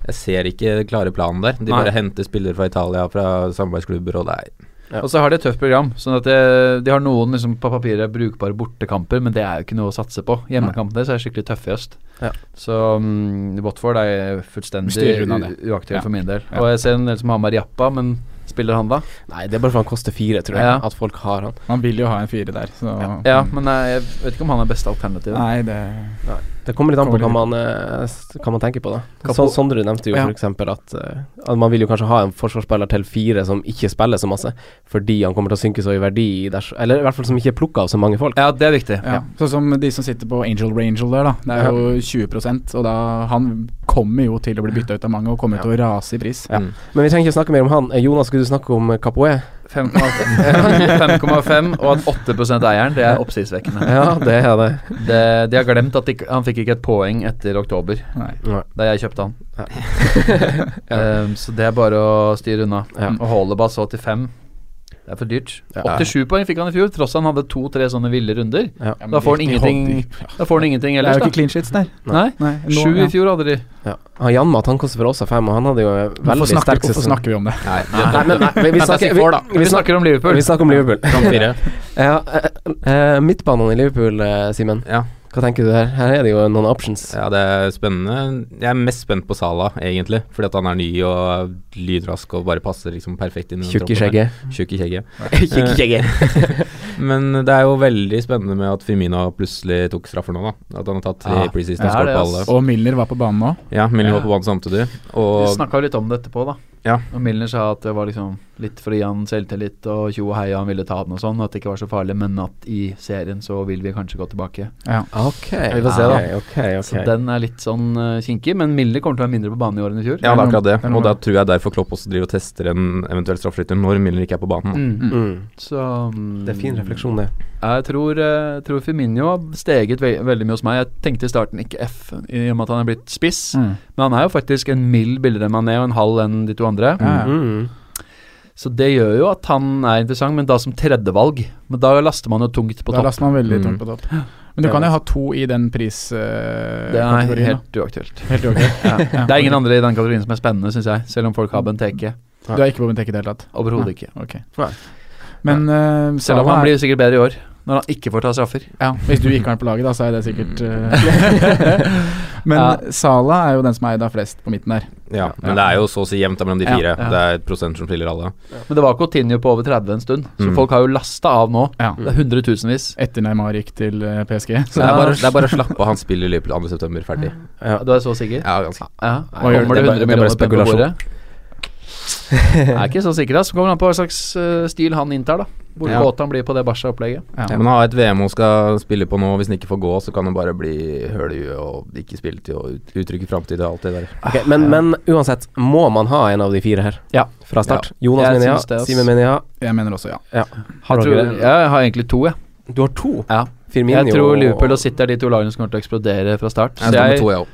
B: Jeg ser ikke den klare planen der. De
D: Nei.
B: bare henter spillere fra Italia, fra samarbeidsklubber, og det er
C: Ja.
D: Og så har de et tøft program. Sånn at det, De har noen liksom på papiret brukbare bortekamper, men det er jo ikke noe å satse på. Hjemmekampene deres er skikkelig tøffe i øst.
C: Ja.
D: Så mm, Watford er fullstendig
A: Styrer unna
D: u-
A: det.
D: uaktuell
A: Ja.
D: for min del.
A: Ja.
D: Og jeg ser en del som har Mariappa, men spiller han da?
C: Nei, det er bare for han koster fire, tror jeg,
D: Ja.
C: at folk har han.
A: Man vil jo ha en fire der, så
D: Ja, men jeg, jeg vet ikke om han er beste alternativet.
A: Nei, det
C: Det kommer litt an på hva
A: Kommer
C: man, eh, s- hva man tenker på, da.
D: Kapo-
C: Sånn Sondre nevnte jo
A: Ja.
C: for eksempel at, eh, at man vil jo kanskje ha en forsvarsspiller til fire som ikke spiller så masse, fordi han kommer til å synke så i verdi, ders, eller i hvert fall som ikke er plukka av så mange folk.
D: Ja, det er viktig.
A: ja. Sånn som de som sitter på Angel Rangel der, da. Det er jo 20 og da Han kommer jo til å bli bytta ut av mange og kommer til å rase i pris.
C: Ja.
B: mm.
C: Men vi trenger ikke snakke mer om han. Eh, Jonas, skulle du snakke om eh, Capoe?
D: 5,5 og at 8 eieren, det er oppsiktsvekkende.
C: Ja, det er det.
D: Det, de har glemt at de, ikke- han fikk ikke et poeng etter oktober,
A: Nei.
D: da jeg kjøpte han.
C: Ja.
D: Ehm, så det er bare å styre unna.
C: Ja.
D: Og Hollebass så til fem. Det er for dyrt.
C: Ja.
D: 87 poeng fikk han i fjor, tross han hadde to-tre sånne ville runder.
A: Ja, men
D: Da får han
A: de- de
D: ingenting,
A: holder-
D: da får han ingenting
A: Det er
D: ellers,
A: jo
D: da.
A: ikke clean sheets der.
D: Nei,
A: Nei, nå-
D: Sju
A: ja.
D: i fjor hadde de.
C: Ja. Han Janmat han koster for oss av fem, og han hadde jo en
A: Hvorfor
C: veldig
A: snakker,
C: sterk
A: hvorfor
C: sesong.
A: snakker vi om det?
B: Nei,
C: Nei, men nei, vi, vi,
B: Fantasy
C: snakker,
B: Four, da.
C: vi, vi,
D: Vi
C: snakker,
D: snakker om Liverpool.
C: vi snakker om Liverpool.
B: Kamp fire.
C: Ja, eh, eh, midtbanen i Liverpool, eh, Simen.
B: Ja.
C: Hva tenker du her? Her er det jo noen options.
B: ja, det er spennende. Jeg er mest spent på Sala, egentlig. Fordi at han er ny og lynrask og bare passer liksom perfekt inn i den
C: Tjukk i
B: troppen der.
C: skjegget.
B: Tjukk i skjegget.
C: Tjukk i skjegget.
B: Men det er jo veldig spennende med at Firmino plutselig tok straffer nå, da. At han har tatt tre
D: Ja.
B: preseason
D: Ja,
B: og skåret
D: det er
B: på
D: ass.
B: alle.
A: Og Milner var på banen nå.
B: Ja, Milner
D: Ja.
B: var på banen samtidig.
D: Vi
B: Og
D: snakka litt om det etterpå, da.
B: Ja.
D: Og Milner sa at det var liksom litt for å gi han selvtillit og tjo og hei, han ville ta den og sånn. At det ikke var så farlig, men at i serien så vil vi kanskje gå tilbake.
C: Ok,
D: vi får se da.
C: Ok, ok,
D: Så den er litt sånn eh, kinkig, men Milner kommer til å være mindre på banen i år enn i fjor.
B: ja, det er akkurat det.
A: Det er noe-
B: Og da tror jeg derfor Klopp også driver og tester en eventuell straffeskytter når Milner ikke er på banen. da.
D: Mm.
C: Mm.
D: Så mm,
C: Det er fin refleksjon, det.
D: Jeg tror, eh, tror Firmino har steget ve veldig mye hos meg. Jeg tenkte i starten ikke F, i og med at han er blitt
A: Mm.
D: spiss. Men han er jo faktisk en mild billigere enn Mané og en halv enn de to andre.
A: Ja, ja.
C: Mm.
D: Så det gjør jo at han er interessant, men da som tredjevalg. Men da laster man jo tungt på
A: Da
D: topp.
A: laster man veldig
B: Mm.
A: tungt på topp. Men du
C: Det
A: kan
C: er
A: jo ha to i den priskategorien.
D: Det er helt uaktuelt.
A: helt ok.
D: Ja.
A: Ja.
D: Det er ingen andre i den kategorien som er spennende, syns jeg. Selv om folk har Benteke.
A: Du er ikke på Benteke i det hele tatt?
D: Overhodet ikke.
A: Ok.
C: Nei.
A: Men eh,
D: Selv om
A: Salah
D: han
A: er-
D: blir sikkert bedre i år, når han ikke får ta straffer.
A: ja, Hvis du ikke har den på laget, da, så er det sikkert eh, Men
D: Mm. Ja.
A: Sala er jo den som er eid av flest på midten der.
B: Ja,
A: Ja.
B: men det er jo så å si jevnt da mellom de
A: Ja,
B: fire.
D: ja.
B: Det er et prosent som skiller alle.
D: Men det var Coutinho på over 30 en stund, så
B: Mm.
D: folk har jo lasta av nå.
A: Ja.
D: Det er hundretusenvis.
A: Etter Neymar gikk til eh, PSG.
B: Så det, er bare, det er bare å slappe av. Han spiller i Liverpool 2.9. Ferdig.
C: Ja.
D: Du er så sikker?
B: Ja, ganske.
D: Ja,
A: Hva gjør det? Det
D: kommer det
A: er
D: 100
A: bare- det er bare
D: millioner penger på
A: spekulasjon.
D: bordet? Jeg er ikke så sikker, ass. Kommer an på hva slags eh, stil han inntar, da. Hvor
B: Ja.
D: kåt han blir på det Barca-opplegget.
A: Ja.
B: Men han har et VM hun skal spille på nå, og hvis han ikke får gå, så kan han bare bli høl i huet og ikke spille til å ut- uttrykke framtid og alt det der.
C: Ok, men, men uansett, må man ha en av de fire her?
D: Ja.
C: Fra start?
D: Jeg
C: Jonas mener
D: syns det,
C: ja,
D: ass.
C: Simen mener ja.
A: Jeg mener også ja.
C: Har
D: Jeg, tror,
C: dere-
D: jeg har egentlig to, jeg.
C: Du har to?
D: Ja.
C: Firmino
D: Jeg tror Liverpool og City er de to lagene som kommer til å eksplodere fra start.
B: Jeg
D: Så
B: står med
D: jeg,
B: to, jeg òg.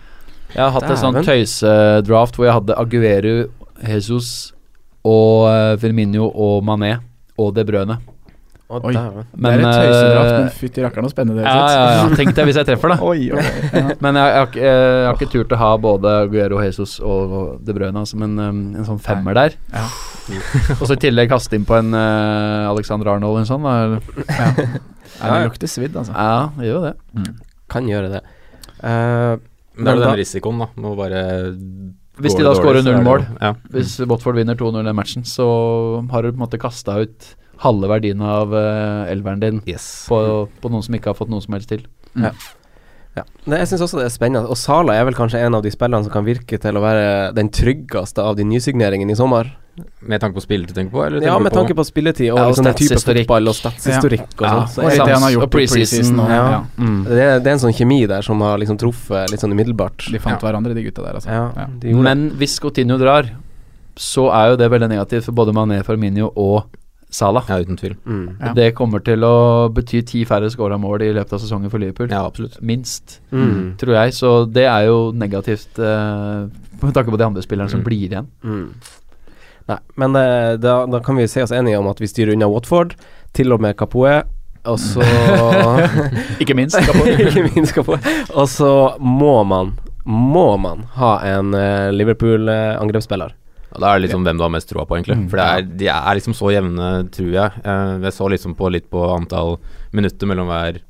D: Jeg har hatt en sånn
C: Dæven.
D: tøysedraft hvor jeg hadde Aguero, Jesus og eh, Firmino og Mané og De Brøne.
C: Å,
A: Oi.
C: dæven.
A: det er et tøysedrakt, men
D: eh,
A: fytti rakkeren så spennende det
D: ja, ja, ja. Tenk deg hvis jeg treffer, da.
A: Oi, oi, oi. Ja.
D: Men jeg, jeg, har ikke- eh, jeg har ikke turt å ha både Aguero, Jesus og De Brøne, altså, men eh, en sånn femmer der.
A: Ja.
D: Og så i tillegg kaste inn på en eh, Alexander Arnold eller en sånn. Da. eller-
A: Ja, det lukter svidd, altså. Mm.
D: Ja, det gjør jo det.
C: Kan gjøre det.
B: Men
C: Eh,
B: det er jo
C: Da-
B: den risikoen, da. Med å bare
D: Hvis
B: går det
D: de da
B: dårlig, så
D: scorer
B: er
D: null
B: det- Mm.
D: mål.
B: Ja.
D: Hvis Watford vinner 2-0 den matchen, så har du på en måte kasta ut halve verdien av eh, elveren din
B: Yes.
D: på, på noen som ikke har fått noe som helst til.
C: ja. Nei, jeg syns også det er spennende. Og Sala er vel kanskje en av de spillerne som kan virke til å være den tryggeste av de nysigneringene i sommer.
B: Med tanke på spillere du tenker på? Eller
C: Ja,
B: tenker du
C: med
B: på
C: tanke på spilletid og,
D: Ja, og
C: liksom den type
D: statshistorikk.
C: fotball og statshistorikk og
D: Ja,
C: sånn.
A: Og
C: Så
D: og
A: litt
C: jeg-
A: det han har
D: Sams-
A: gjort
D: og
A: i preseason.
D: preseason,
A: og-
C: ja.
A: Ja.
B: Mm.
C: Det, er- det er en sånn kjemi der som har liksom truffet litt sånn umiddelbart.
A: De fant hverandre, de gutta der, altså.
C: Ja,
A: Ja.
C: de gjorde det.
D: Men hvis Coutinho drar, så er jo det veldig negativt for både Mané, Firmino og Salah.
B: Ja, uten tvil.
C: Mm.
A: Ja.
D: Det kommer til å bety ti færre scora mål i løpet av sesongen for Liverpool.
B: Ja, absolutt.
D: Minst,
C: Mm.
D: tror jeg. Så det er jo negativt eh, med tanke på de andre spillerne som
B: Mm.
D: blir igjen.
C: Mm. Nei, men eh, da, da kan vi se oss enige om at vi styrer unna Watford, til og med Kapoe, og så
D: Ikke minst.
C: Ikke minst Kapoe. Og så må man, må man ha en eh, Liverpool-angrepsspiller.
B: Og da er det liksom hvem du har mest troa på,
D: Mm,
B: egentlig. For det er, de er liksom så jevne, tror jeg. Eh, jeg så liksom på litt på antall minutter mellom hver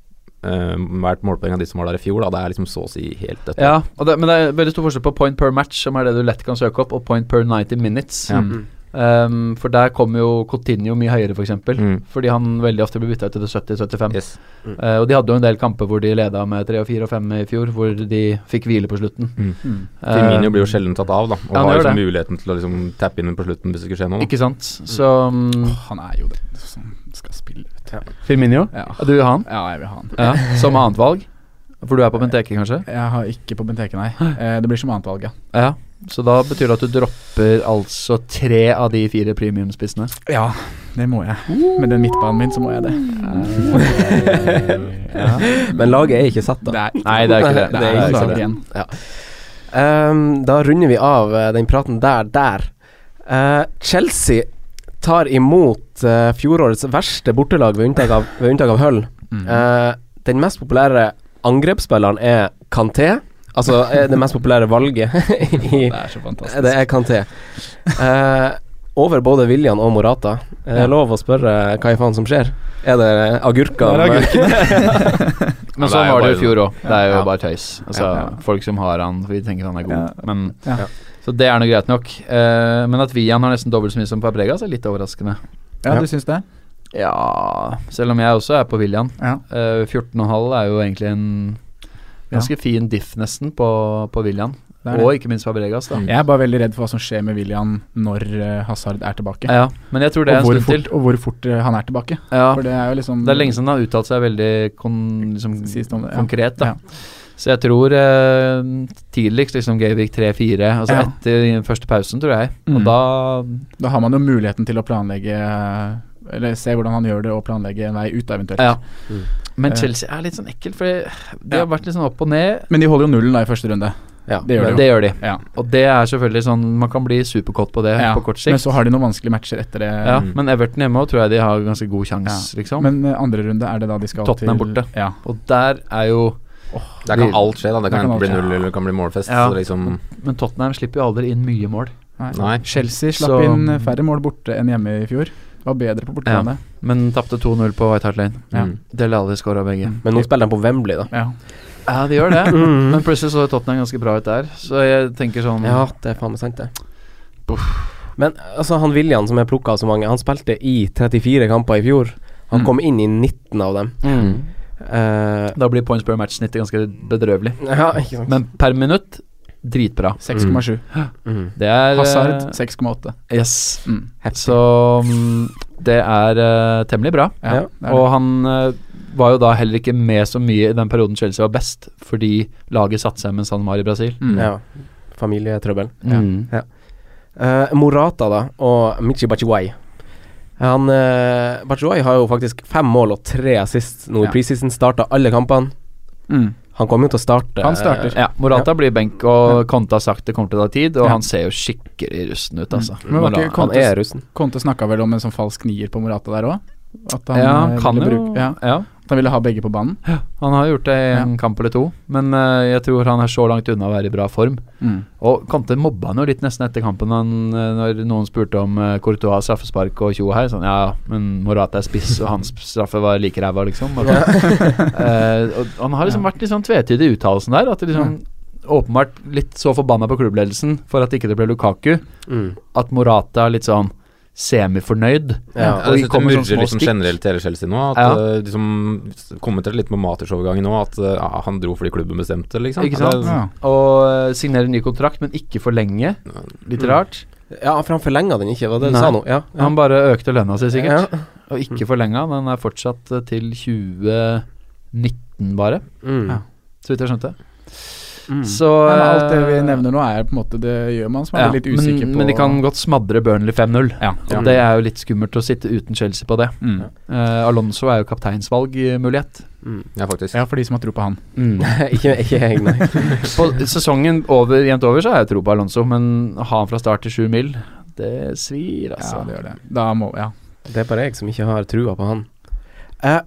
B: eh, hvert målpoeng av de som var der i fjor. Da. Det er liksom så å si helt dødt.
D: Ja, og det, men det er veldig stor forskjell på point per match, som er det du lett kan søke opp, og point per 90 minutes.
B: Ja.
A: Mm.
D: Um, for der kommer jo Coutinho mye høyere, f.eks. eksempel
B: Mm.
D: Fordi han veldig ofte blir bytta ut til det 70-75.
B: Yes.
D: Eh, og de hadde jo en del kamper hvor de leda med 3 og 4 og 5 i fjor, hvor de fikk hvile på slutten.
A: Mm.
B: Firmino
D: Eh,
B: blir jo sjelden tatt av, da. Og
D: han
B: har
D: gjør
B: liksom muligheten til å liksom tappe inn på slutten hvis det skulle skje noe. da.
D: Ikke sant?
B: Mm.
D: Så um,
A: Han er jo det som skal spille ut.
D: Firmino?
A: Ja.
D: Du vil ha han?
A: ja, jeg vil ha han.
D: Ja. Som annet valg? For du er på Benteke, kanskje?
A: Jeg har ikke på Benteke, nei. Eh, Det blir som annet valg, ja.
D: Ja. Så da betyr det at du dropper altså tre av de fire premiumspissene.
A: Ja, det må jeg. Med den midtbanen min, så må jeg det.
D: Ja.
C: Men laget er ikke satt, da.
A: Nei,
D: Nei, det er ikke det.
A: det
D: Nei,
A: er ikke
D: det.
A: sant igjen.
C: Ehm, da runder vi av eh, den praten der, der. Eh, Chelsea tar imot eh, fjorårets verste bortelag, ved unntak av, ved unntak av Hull.
A: Mm.
C: Eh, den mest populære angrepsspilleren er Kanté. Altså eh, det mest populære valget i
A: Det er så fantastisk.
C: Det er Kanté. Eh, over både William og Morata. Er det
A: Ja.
C: lov å spørre hva i faen som skjer? Er det agurker?
A: Det er
B: Ja,
D: Men
B: det
D: sånn
B: er jo
D: var det jo i
B: bare-
D: fjor òg. Det er jo
C: Ja.
D: bare tøys. Altså,
A: Ja, ja.
D: Folk som har han, for de tenker han er god.
A: Ja.
D: Men,
A: Ja.
D: Så det er nå greit nok. Eh, men at Vian har nesten dobbelt så mye som Fabregas, er litt overraskende.
A: Ja, du syns det?
D: Ja Selv om jeg også er på William.
A: Ja.
D: Eh, 14,5 er jo egentlig en ganske fin diff, nesten, på, på William.
A: Det er det. Mm.
D: Og ikke minst Fabregas, da.
A: Jeg er bare veldig redd for hva som skjer med William når eh, Hazard er tilbake.
D: Ja, men jeg tror det er
A: Og
D: en
A: hvor
D: stund
A: fort,
D: til.
A: og hvor fort eh, han er tilbake.
D: Ja,
A: For det er jo liksom
D: det er lenge siden han har uttalt seg veldig kon, liksom,
A: Sist om det, ja.
D: konkret. da
A: Ja.
D: Så jeg tror eh, tidligst liksom Gavic 3-4, altså
A: Ja.
D: etter den første pausen, tror jeg. Og
A: Mm.
D: da
A: Da har man jo muligheten til å planlegge eh, Eller se hvordan han gjør det, og planlegge en vei ut, da, eventuelt.
D: Ja.
C: Mm.
D: Men
A: Eh.
D: Chelsea er litt sånn ekkelt, for de
A: Ja.
D: har vært litt sånn opp og ned.
A: Men de holder jo nullen da i første runde.
C: Ja.
A: Det gjør de jo.
D: det gjør de.
A: Ja.
D: Og det er selvfølgelig sånn Man kan bli superkåt på det
A: Ja,
D: Eh, på kort
A: Men
D: sikt.
A: så har de noen vanskelige matcher etter det.
D: ja,
B: Mm.
D: men Everton hjemme også tror jeg de har ganske god sjanse, liksom.
A: Men eh, andre runde er det da de skal
D: Tottenham
A: til
D: borte.
A: Ja.
D: og der er jo
B: Der kan alt skje, da. Det kan,
A: kan alt
B: enten bli
A: skje.
B: null eller det kan bli målfest.
D: Ja.
B: Så liksom
D: Men Tottenham slipper jo aldri inn mye mål.
B: Nei.
A: Chelsea slapp
D: Så-
A: inn eh, færre mål borte enn hjemme i fjor. Var bedre på bortebane.
D: Men tapte 2-0 på White Hart Lane.
A: Ja. Mm.
B: Mm.
D: Dele Alli skåra begge.
C: Men nå spiller de på Wembley, da.
A: Ja.
D: Ja, de gjør det.
C: Mm.
D: Men plutselig så Tottenham ganske bra ut der, så jeg tenker sånn
C: Ja, det er faen meg sant, det. Men altså, han William som er plukka av så mange, han spilte i 34 kamper i fjor. Han
A: Mm.
C: kom inn i 19 av dem.
D: mm.
C: Eh,
D: Da blir points per match-snittet ganske bedrøvelig.
C: ja, ikke sant.
D: Men per minutt dritbra.
A: 6,7.
C: Mm.
D: Det er eh,
A: Hazard 6,8.
D: Yes.
A: Mm.
D: Så mm, det er eh, temmelig bra.
A: Ja,
C: Ja,
A: det er det.
D: Og han eh, var jo da heller ikke med så mye i den perioden Chelsea var best, fordi laget satte seg mens han var i Brasil.
A: Mm.
C: Ja. Familietrøbbel.
A: Ja.
C: Eh, Morata da og Michi Bachiwai. Han eh, Batshuayi har jo faktisk fem mål og tre assist nå i
A: Ja.
C: preseason. Starta alle kampene.
A: Mm.
C: Han kommer jo til å starte. eh,
A: Han starter.
D: Ja, Morata blir benk, og Conte har sagt det kommer til å ta tid, og han ser jo skikkelig rusten ut, altså.
A: Mm. Men var ikke
D: Morata-
C: Han
A: Conte-
C: er russen.
A: Conte snakka vel om en sånn falsk nier på Morata der òg? At han,
D: ja,
A: eh,
D: han kan
A: ville
D: jo
A: bruke- ja,
D: ja.
A: at han ville ha begge på banen.
D: Han har gjort det i en kamp eller to, men eh, jeg tror han er så langt unna å være i bra form.
A: Mm.
D: Og Kante mobba han jo litt nesten etter kampen han, eh, når noen spurte om eh, Courtois straffespark og tjo her. Sånn, ja, men Morata er spiss, og hans straffe var like ræva, liksom. Og, eh, og han har liksom vært litt sånn tvetydig i uttalelsen der. At det liksom åpenbart litt så forbanna på klubbledelsen for at ikke det ble Lukaku,
C: Mm.
D: at Morata er litt sånn semifornøyd.
C: Ja.
B: Ja, jeg synes det
D: kommer sånne
B: murrer
D: små
B: liksom
D: stikk.
B: generelt hele Chelsea nå. At
D: Ja.
B: eh, liksom, Kommentert litt på Maters-overgangen nå, at eh, ja, han dro fordi klubben bestemte, liksom.
D: Ikke
B: Det
D: sant?
B: er-
A: Ja.
D: Og eh, signerer ny kontrakt, men ikke for lenge. Litt
C: Mm.
D: rart.
C: ja, for han forlenga den ikke, var det du
D: Nei.
C: sa nå? Ja. ja.
D: Han bare økte lønna si,
C: Mm.
D: sikkert.
C: Ja.
D: Og ikke forlenga. Den er fortsatt eh, til 2019, bare.
C: Mm.
A: Ja.
D: Så vidt jeg skjønte.
C: Mm.
D: Så
A: Nei, men alt det vi
D: eh,
A: nevner nå, er på en måte det gjør man som er
D: ja,
A: litt usikker
D: men,
A: på
D: men de kan godt smadre Burnley 5-0.
A: ja.
D: Og Det er jo litt skummelt å sitte uten Chelsea på det.
A: Mm.
D: Eh, Alonso er jo kapteinsvalgmulighet.
C: Mm.
B: Ja, faktisk.
A: ja, for de som har tro på han.
C: ikke, ikke jeg, nei.
D: på sesongen over, jevnt over så har jeg tro på Alonso, men å ha han fra start til sju mil, det svir, altså.
A: Ja, det gjør det. Da må Ja.
C: Det er bare jeg som ikke har trua på han. Eh,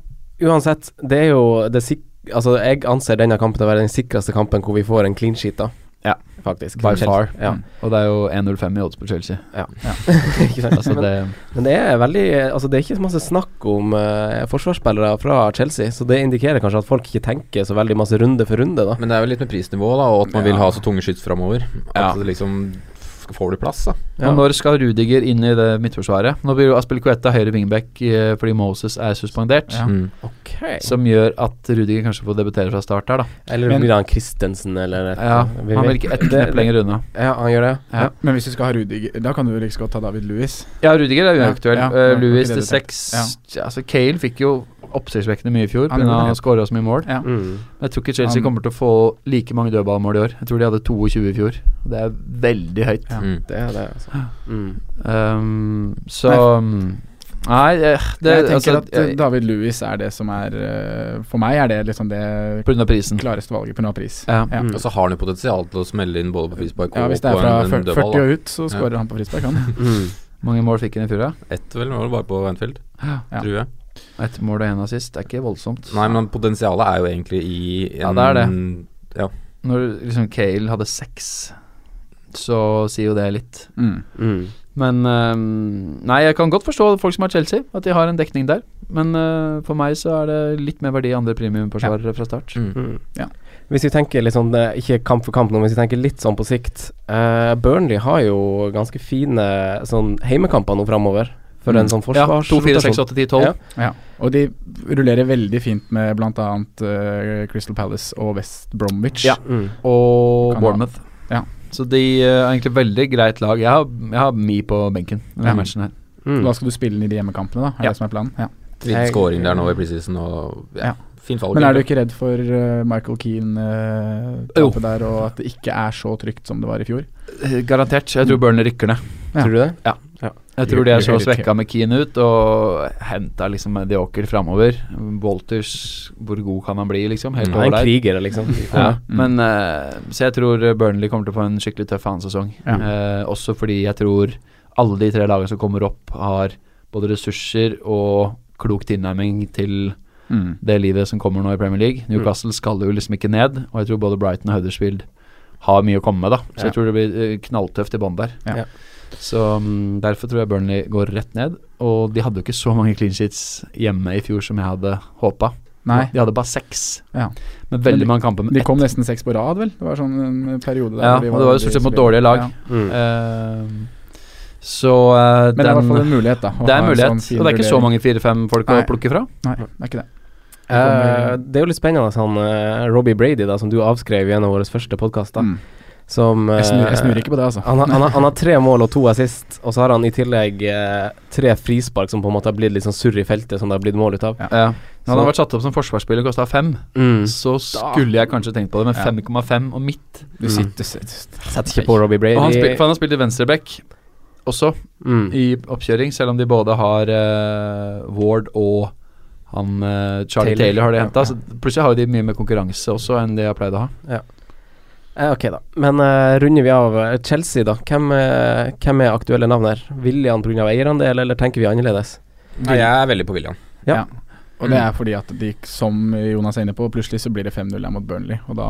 C: uansett, det er jo det sik Altså, jeg anser denne kampen til å være den sikreste kampen hvor vi får en clean sheet, da.
D: Ja.
C: Faktisk.
D: By
C: Chelsea.
D: far.
C: Ja.
D: Og det er jo 1-0-5 i odds på Chelsea.
C: Ikke sant?
D: Altså
C: men,
D: det,
C: men det er veldig Altså, det er ikke så masse snakk om eh, forsvarsspillere fra Chelsea, så det indikerer kanskje at folk ikke tenker så veldig masse runde for runde, da.
B: Men det er jo litt med prisnivået, da, og at man
A: Ja.
B: vil ha så tunge skyts framover. At
D: Ja.
B: det liksom f- Får du plass, da?
C: Ja.
D: Og når skal Rudiger inn i det midtforsvaret? Nå blir jo Aspelkueta høyre wingback eh, fordi Moses er suspendert.
A: Ja.
B: Mm.
C: Ok.
D: Som gjør at Rudiger kanskje får debutere fra start her, da.
C: Eller
A: Men-
C: blir han Christensen, eller et,
D: Ja,
C: vi
D: han
C: vet-
D: virker ett
C: Det-
D: knepp lenger unna.
C: Ja, han gjør det.
D: Ja.
A: Men hvis du skal ha Rudiger, da kan du jo like så godt ta David Louis.
D: Ja, Rudiger er
A: Ja,
D: uaktuell.
A: ja,
D: Ja,
A: det var
D: Louis
A: ikke det
D: til
A: du
D: seks ja, altså Kane fikk jo oppsiktsvekkende mye i fjor
A: Han
D: pga.
A: gjorde det.
D: å skåre så mye mål.
A: Ja.
C: Mm.
D: Men jeg tror ikke Chelsea
A: Han-
D: kommer til å få like mange dødballmål i år. Jeg tror de hadde 22 i fjor. Det er veldig høyt.
A: Ja.
B: Mm.
C: Det er det, altså. Mm.
D: Um, så Nei, eh, det
A: jeg tenker
D: altså,
A: at eh, David Louis er det som er eh, For meg er det liksom det
D: Pga. prisen.
A: klareste valget på noe pris.
D: Ja. altså.
A: Ja.
C: Mm.
B: Og så har han jo potensial til å smelle inn både på frispark
A: Ja,
B: og
A: Hvis det
B: på
A: er fra
B: en, en
A: 40
B: dødball. da.
A: og ut, så skårer han på frispark, han.
C: Mm.
D: Mange mål fikk han i fjor, da?
B: Ett vel, var det bare på Anfield,
A: Ja.
B: tror jeg.
D: Ett mål og én assist. Det er ikke voldsomt.
B: Nei, men potensialet er jo egentlig i en,
D: Ja, det er det.
B: Ja.
D: Når liksom Kale hadde seks, så sier jo det litt.
A: Mm.
C: Mm.
D: Men ehm, Nei, jeg kan godt forstå folk som har Chelsea, at de har en dekning der. Men eh, for meg så er det litt mer verdi i andre premiumforsvarere fra start.
B: Mm.
C: Mm.
A: Ja.
C: Hvis vi tenker litt sånn, eh, ikke kamp for kamp nå, men hvis vi tenker litt sånn på sikt eh, Burnley har jo ganske fine sånn heimekamper nå framover, for en sånn
D: Ja,
C: forsvars...
D: 2, 4, 6, 8, 10, 12.
C: Ja.
A: Ja. Og de rullerer veldig fint med bl.a. Uh, Crystal Palace og West Bromwich.
D: Ja.
C: Mm.
D: Og
A: Kan ha.
D: Bournemouth.
A: Ja.
D: Så de eh, er egentlig veldig greit lag. Jeg har, jeg har Mi på benken i denne
A: Ja.
D: matchen her.
C: Mm.
A: Da skal du spille inn i de hjemmekampene, da. Er
D: Ja.
A: det som er planen? Ja.
B: Liten
C: Jeg-
B: scoring der nå i preseason, og ja.
A: Ja.
B: Fint valg.
A: Men er du
B: egentlig.
A: ikke redd for eh, Michael Keane-tapet der, og at det ikke er så trygt som det var i fjor?
D: Eh, Garantert. Jeg tror Burnley rykker ned.
A: Ja.
C: Tror du det?
D: Jeg tror de er så
A: Irritert.
D: svekka med Keane ut, og henta liksom Dioker framover. Walters, hvor god kan han bli, liksom? Helt
B: Mm.
C: Han er
D: over
C: en
D: der.
C: kriger, liksom.
D: Ja,
A: Mm.
D: men eh, Så jeg tror Burnley kommer til å få en skikkelig tøff annen sesong.
A: Ja.
D: Eh, også fordi jeg tror alle de tre lagene som kommer opp, har både ressurser og klok tilnærming til
A: Mm.
D: det livet som kommer nå i Premier League.
C: Mm.
D: Newcastle skal jo liksom ikke ned, og jeg tror både Brighton og Huddersfield har mye å komme med, da. Så
C: Ja.
D: jeg tror det blir eh, knalltøft i bånn der.
A: Ja.
C: Ja.
D: Så mm, derfor tror jeg Burnley går rett ned. Og de hadde jo ikke så mange clean sheets hjemme i fjor som jeg hadde håpa.
A: Nei.
D: De hadde bare seks.
A: Ja.
D: Men
A: Men
D: veldig
A: de-
D: mange kamper med
A: De kom nesten seks på rad, vel? Det var sånn en periode der.
D: Ja,
A: hvor de
D: og det var jo
A: veldig
D: stort sett mot
A: solide.
D: dårlige lag.
A: Ja.
C: Mm.
D: Ehm, så eh,
A: Men det er i hvert fall
D: den
A: en mulighet, da. å
D: det er en
A: ha en
D: mulighet,
A: sånn fin
D: og det er ikke så
A: rullering.
D: mange fire-fem folk
A: Nei.
D: å plukke fra.
A: Nei, det er ikke det.
C: Eh, det er jo litt spennende, han eh, Robbie Brady, da, som du avskrev i en av våre første podkaster,
A: Mm.
C: som
A: Jeg, snur, jeg
C: eh,
A: snur ikke på det, altså.
C: Han har, han, har, han har tre mål og to assist, og så har han i tillegg eh, tre frispark som på en måte har blitt litt sånn surr i feltet, som det har blitt mål ut av.
A: Ja.
D: Ja. Men Hadde
C: Så-
D: han vært satt opp som forsvarsspiller og kosta fem,
C: Mm.
D: så skulle jeg kanskje tenkt på det, men
A: Ja.
D: 5,5 og midt
A: Du sitter sitter-
C: Setter ikke på Robbie Brady.
D: Og han spil, For han har spilt i venstreback også,
C: Mm.
D: i oppkjøring, selv om de både har eh, Ward og han eh, Charlie Taylor,
C: Taylor,
D: har de
C: ja,
D: henta.
C: ja.
D: så Plutselig har jo de mye mer konkurranse også enn de har pleid å ha.
C: Eh, ok, da. Men eh, runder vi av eh, Chelsea, da. Hvem, eh, hvem er aktuelle navn her? William pga. eierandel, eller tenker vi annerledes?
B: Nei, jeg er veldig på William.
A: Og det er fordi at de, som Jonas er inne på, plutselig så blir det 5-0 her mot Burnley, og da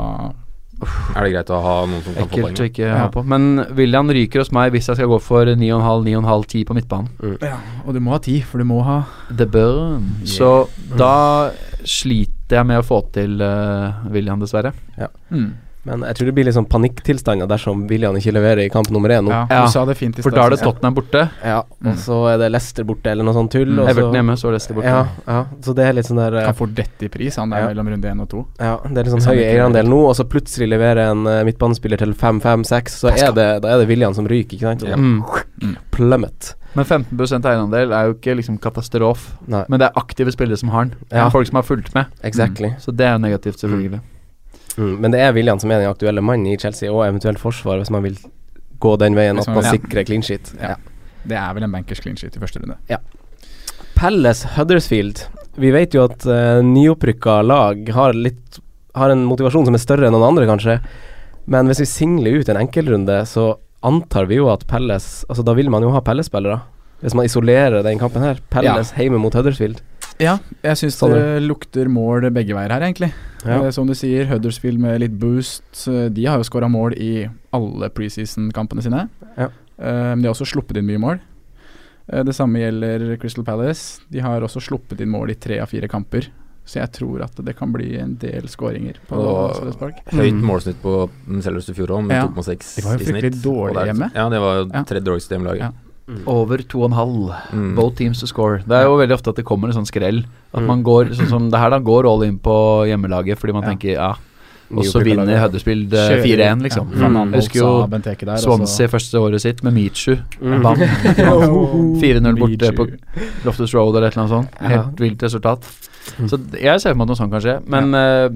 B: Er det greit å ha noen som kan få
D: Ekkelt å
B: poeng?
D: ikke
A: Ja.
D: ha på. Men William ryker hos meg hvis jeg skal gå for 9,5, 9,5, 10 på midtbanen.
C: Mm.
A: Og du må ha ti, for du må ha
D: The Burn. Så da sliter jeg med å få til eh, William, dessverre.
A: mm.
C: Men jeg tror det blir litt sånn panikktilstander dersom William ikke leverer i kamp nummer én nå.
A: ja,
D: Ja.
A: Du sa det fint i
D: For da er
A: synes
D: det
A: jeg.
D: Tottenham borte,
C: Ja,
A: Mm.
C: og så er det Leicester borte, eller noe sånt tull.
D: mm.
C: og så-
D: Everton hjemme, så er Leicester borte.
C: Altså- Ja, ja, så det er litt sånn der eh,
A: Han får dette i pris, han er
C: Ja.
A: mellom runde én og to.
C: Ja, det er litt
A: Hvis
C: sånn
A: han
C: høy
A: ikke
C: eierandel nå, og så plutselig leverer en eh, midtbanespiller til 5-5-6, så er det, da er det William som ryker, ikke sant? Og så
D: Mm.
C: Plummet.
D: Men 15 eierandel er jo ikke liksom katastrof.
C: Nei,
D: Men det er aktive spillere som har den. Det er
C: Ja.
D: Folk som har fulgt med.
C: exactly.
D: Så det er jo negativt, selvfølgelig.
C: Mm. Men det er William som er den aktuelle mannen i Chelsea, og eventuelt forsvar, hvis man vil gå den veien
A: Hvis
C: at
A: man
C: man
A: vil, ja.
C: sikrer clean sheet.
A: Ja. Det er vel en bankers clean sheet i første runde.
C: Palace Huddersfield. Vi vet jo at uh, nyopprykka lag har, litt, har en motivasjon som er større enn noen andre, kanskje. Men hvis vi singler ut en enkeltrunde, så antar vi jo at Palace Altså, da vil man jo ha Palace-spillere. Hvis man isolerer den kampen her. Palace hjemme mot Huddersfield.
A: Ja, jeg syns
C: Sa du?
A: det lukter mål begge veier her, egentlig. Eh, Som du sier, Huddersfield med litt boost. eh, De har jo skåra mål i alle preseason-kampene sine.
C: Ja.
A: Eh, Men de har også sluppet inn mye mål. Eh, Det samme gjelder Crystal Palace. De har også sluppet inn mål i tre av fire kamper. Så jeg tror at det kan bli en del skåringer på
B: Og-
A: Sørlands Park.
B: Høyt
C: Mm.
B: målsnitt på Sellers i fjor òg, med
A: Ja.
B: 2,6
A: De var jo
B: i
A: fryktelig
B: snitt.
A: dårlige
B: Og det er-
A: hjemme.
B: Ja, det var jo
A: Ja.
B: tredje dårligste hjemmelaget.
A: Ja.
D: Over 2,5.
B: Mm.
D: Both teams to score. Det er jo veldig ofte at det kommer en sånn skrell. At
C: Mm.
D: man går sånn som det her, da går all in på hjemmelaget fordi man
A: Ja.
D: tenker ja, og så
C: Nyopprykka
D: vinner
C: lag.
D: Huddersfield eh, 4-1, liksom.
A: Ja, Fernando
D: Jeg husker jo
A: sa Benteke der, altså. og så-
D: Swansea første året sitt med Michu.
C: Mm. Oh.
D: Bam. 4-0 borte
A: Michu.
D: på Loftus Road eller et eller annet sånt.
C: Ja.
D: Helt vilt resultat. Så d- jeg ser for meg at noe sånt kan skje. Men ja.